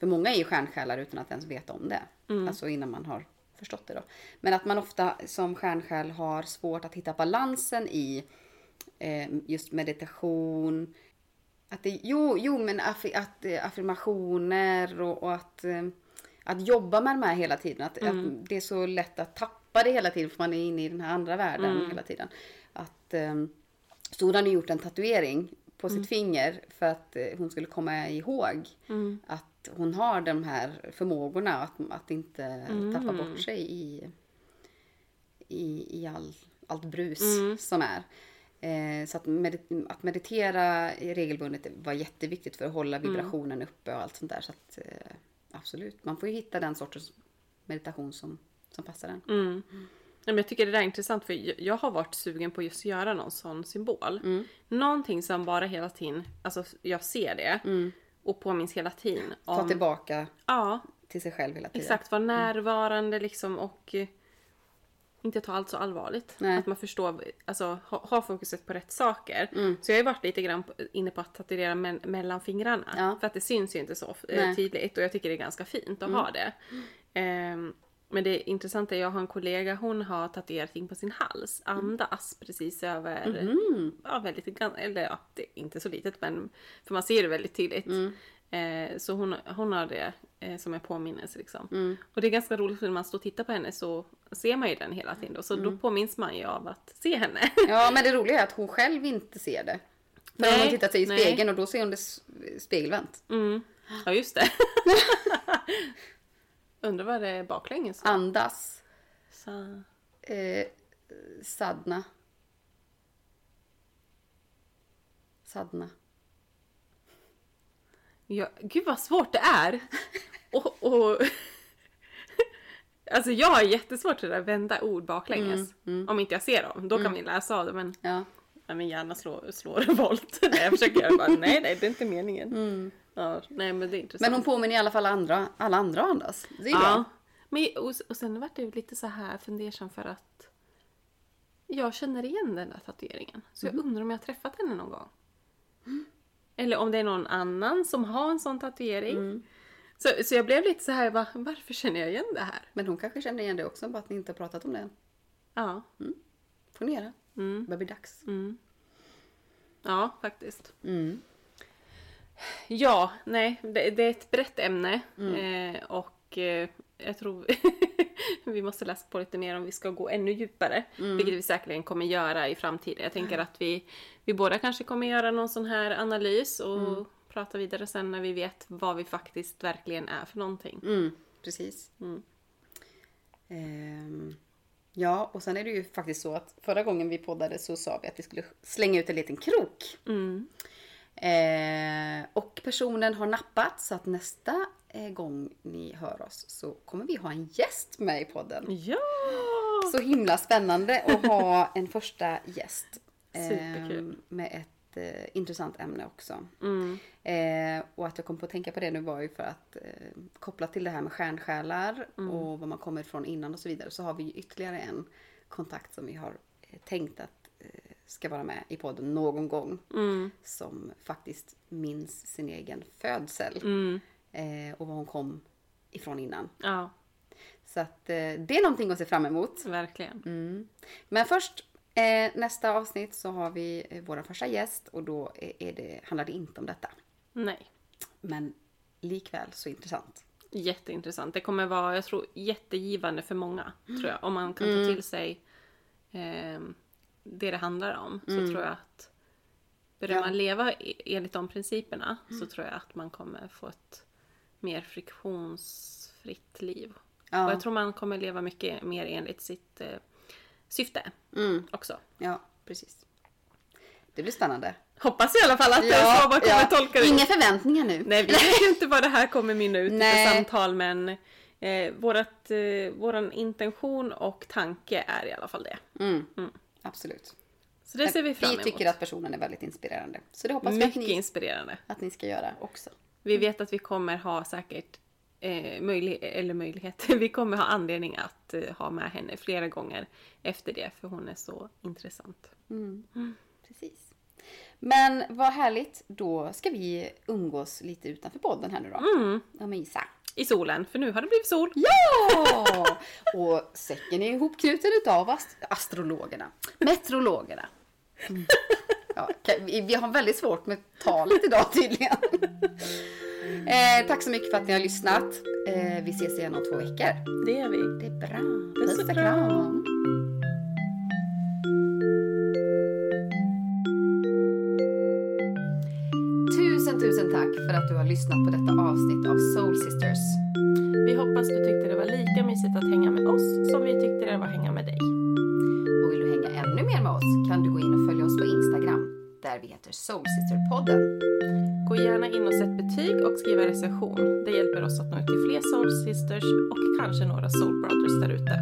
för många är ju stjärnsjälar utan att ens veta om det. Alltså innan man har förstått det då. Men att man ofta som stjärnsjäl har svårt att hitta balansen i eh, just meditation. Att det, jo, jo, men affi, att, eh, affirmationer och, och att, eh, att jobba med de här hela tiden. Att, att det är så lätt att tappa det hela tiden för man är inne i den här andra världen hela tiden. Att... ehm, så hon hade gjort en tatuering på sitt finger för att eh, hon skulle komma ihåg att hon har de här förmågorna och att, att inte tappa bort sig i, i, i all, allt brus Mm. som är. Eh, så att, med, att meditera regelbundet var jätteviktigt för att hålla Mm. vibrationen uppe och allt sånt där. Så att, eh, absolut, man får ju hitta den sortens meditation som, som passar en. Mm. Ja, men jag tycker det där är intressant för jag- jag har varit sugen på just att göra någon sån symbol. Mm. Någonting som bara hela tiden, alltså jag ser det och påminns hela tiden Mm. Ta om... tillbaka ja, till Mm. sig själv hela tiden. exakt. Vara närvarande liksom och eh, inte ta allt så allvarligt. Nej. Att man förstår, alltså ha, ha fokuset på rätt saker. Mm. Så jag har ju varit lite grann på, inne på att tatuera men, mellan fingrarna. Ja. För att det syns ju inte så eh, Nej. tydligt och jag tycker det är ganska fint att ha det. Ehm, men det intressanta är jag har en kollega, hon har tatuerat in på sin hals, andas precis över, ja väldigt, gan- eller ja, det är inte så litet men, för man ser det väldigt tydligt. Eh, så hon, hon har det eh, som en påminnelse liksom. Och det är ganska roligt för när man står och tittar på henne så ser man ju den hela tiden då, så då påminns man ju av att se henne. Ja, men det roliga är att hon själv inte ser det. För Nej, hon har tittat sig i nej. spegeln och då ser hon det s- spegelvänt. Mm. Ja just det. Undrar vad det är baklänges? Andas, Så. eh, sadna. Sadna. Ja, gud vad svårt det är! Och, och, alltså jag har jättesvårt för det där vända ord baklänges. Om inte jag ser dem, då kan vi läsa av det men Ja. Mm, ja, min hjärna slår, slår revolt. Nej, jag försöker göra bara, nej nej det är inte meningen. Ja, nej Mm. men det är intressant. Men hon påminner i alla fall andra, alla andra att andas. Det är ja. bra. men, och, och sen vart det ju lite så här fundersam för att jag känner igen den där tatueringen. Så jag undrar om jag har träffat henne någon gång. Eller om det är någon annan som har en sån tatuering. Så, så jag blev lite så här, va, varför känner jag igen det här? Men hon kanske känner igen det också, bara att ni inte har pratat om det än. Ja, Ponera. Det börjar bli dags. ja faktiskt. Ja, nej, det, det är ett brett ämne. Eh, och eh, jag tror vi måste läsa på lite mer om vi ska gå ännu djupare. Vilket vi säkerligen kommer göra i framtiden. Jag tänker att vi, vi båda kanske kommer göra någon sån här analys och prata vidare sen när vi vet vad vi faktiskt verkligen är för någonting. Mm, precis. Ehm, Ja, och sen är det ju faktiskt så att förra gången vi poddade så sa vi att vi skulle slänga ut en liten krok. Eh, och personen har nappat så att nästa eh, gång ni hör oss så kommer vi ha en gäst med i podden. Ja! Så himla spännande att ha en första gäst. eh, Superkul. Med ett eh, intressant ämne också. Mm. Eh, och att jag kom på att tänka på det nu var ju för att eh, koppla till det här med stjärnsjälar Mm. och var man kommer ifrån innan och så vidare så har vi ju ytterligare en kontakt som vi har eh, tänkt att eh, ska vara med i podden någon gång Mm. som faktiskt minns sin egen födsel Mm. eh, och var hon kom ifrån innan. Ja, Så att eh, det är någonting att se fram emot. verkligen. Mm. Men först, eh, nästa avsnitt så har vi eh, vår första gäst och då är är det, handlar det inte om detta. Nej. Men likväl så intressant. Jätteintressant. Det kommer vara, jag tror, jättegivande för många. Tror jag. Om man kan ta till sig eh, det det handlar om. Så tror jag att börjar Ja. man leva e- enligt de principerna så tror jag att man kommer få ett mer friktionsfritt liv. Ja. Och jag tror man kommer leva mycket mer enligt sitt eh, syfte Mm. också. Ja, precis. Det blir spännande. Hoppas i alla fall att ja, så man kommer tolka det. Inga förväntningar nu. Nej, vi vet ju inte vad det här kommer mynna ut i för Nej. samtal, men eh, vårat, eh, våran intention och tanke är i alla fall det. Mm. Absolut. Så det ser vi fram Vi emot. tycker att personen är väldigt inspirerande. Så det hoppas vi att Mycket ni, Mm. inspirerande. att ni ska göra också. Vi vet att vi kommer ha säkert eh, möjlig, eller möjlighet, vi kommer ha anledning att eh, ha med henne flera gånger efter det, för hon är så intressant. Mm. Mm. Precis. Men vad härligt. Då ska vi umgås lite utanför podden här nu då. Mm, Ja, men Isa. I solen, för nu har det blivit sol. Ja! Och säcken är ihopknuten utav ast- astrologerna. Metrologerna. Mm. Ja, kan- vi vi har väldigt svårt med talet idag tydligen. Eh, tack så mycket för att ni har lyssnat. Eh, vi ses igen om två veckor. Det är vi. Det är bra. Puss och Puss och kram. kram. Tusen, tusen tack för att du har lyssnat på detta avsnitt av Soul Sisters. Vi hoppas du tyckte det var lika mysigt att hänga med oss som vi tyckte det var att hänga med dig. Och vill du hänga ännu mer med oss kan du gå in och följa oss på Instagram där vi heter Soulsisterpodden. Gå gärna in och sätt betyg och skriv en recension. Det hjälper oss att nå ut till fler Soul Sisters och kanske några Soul Brothers där ute.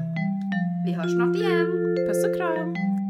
Vi hörs snart igen! Puss och kram!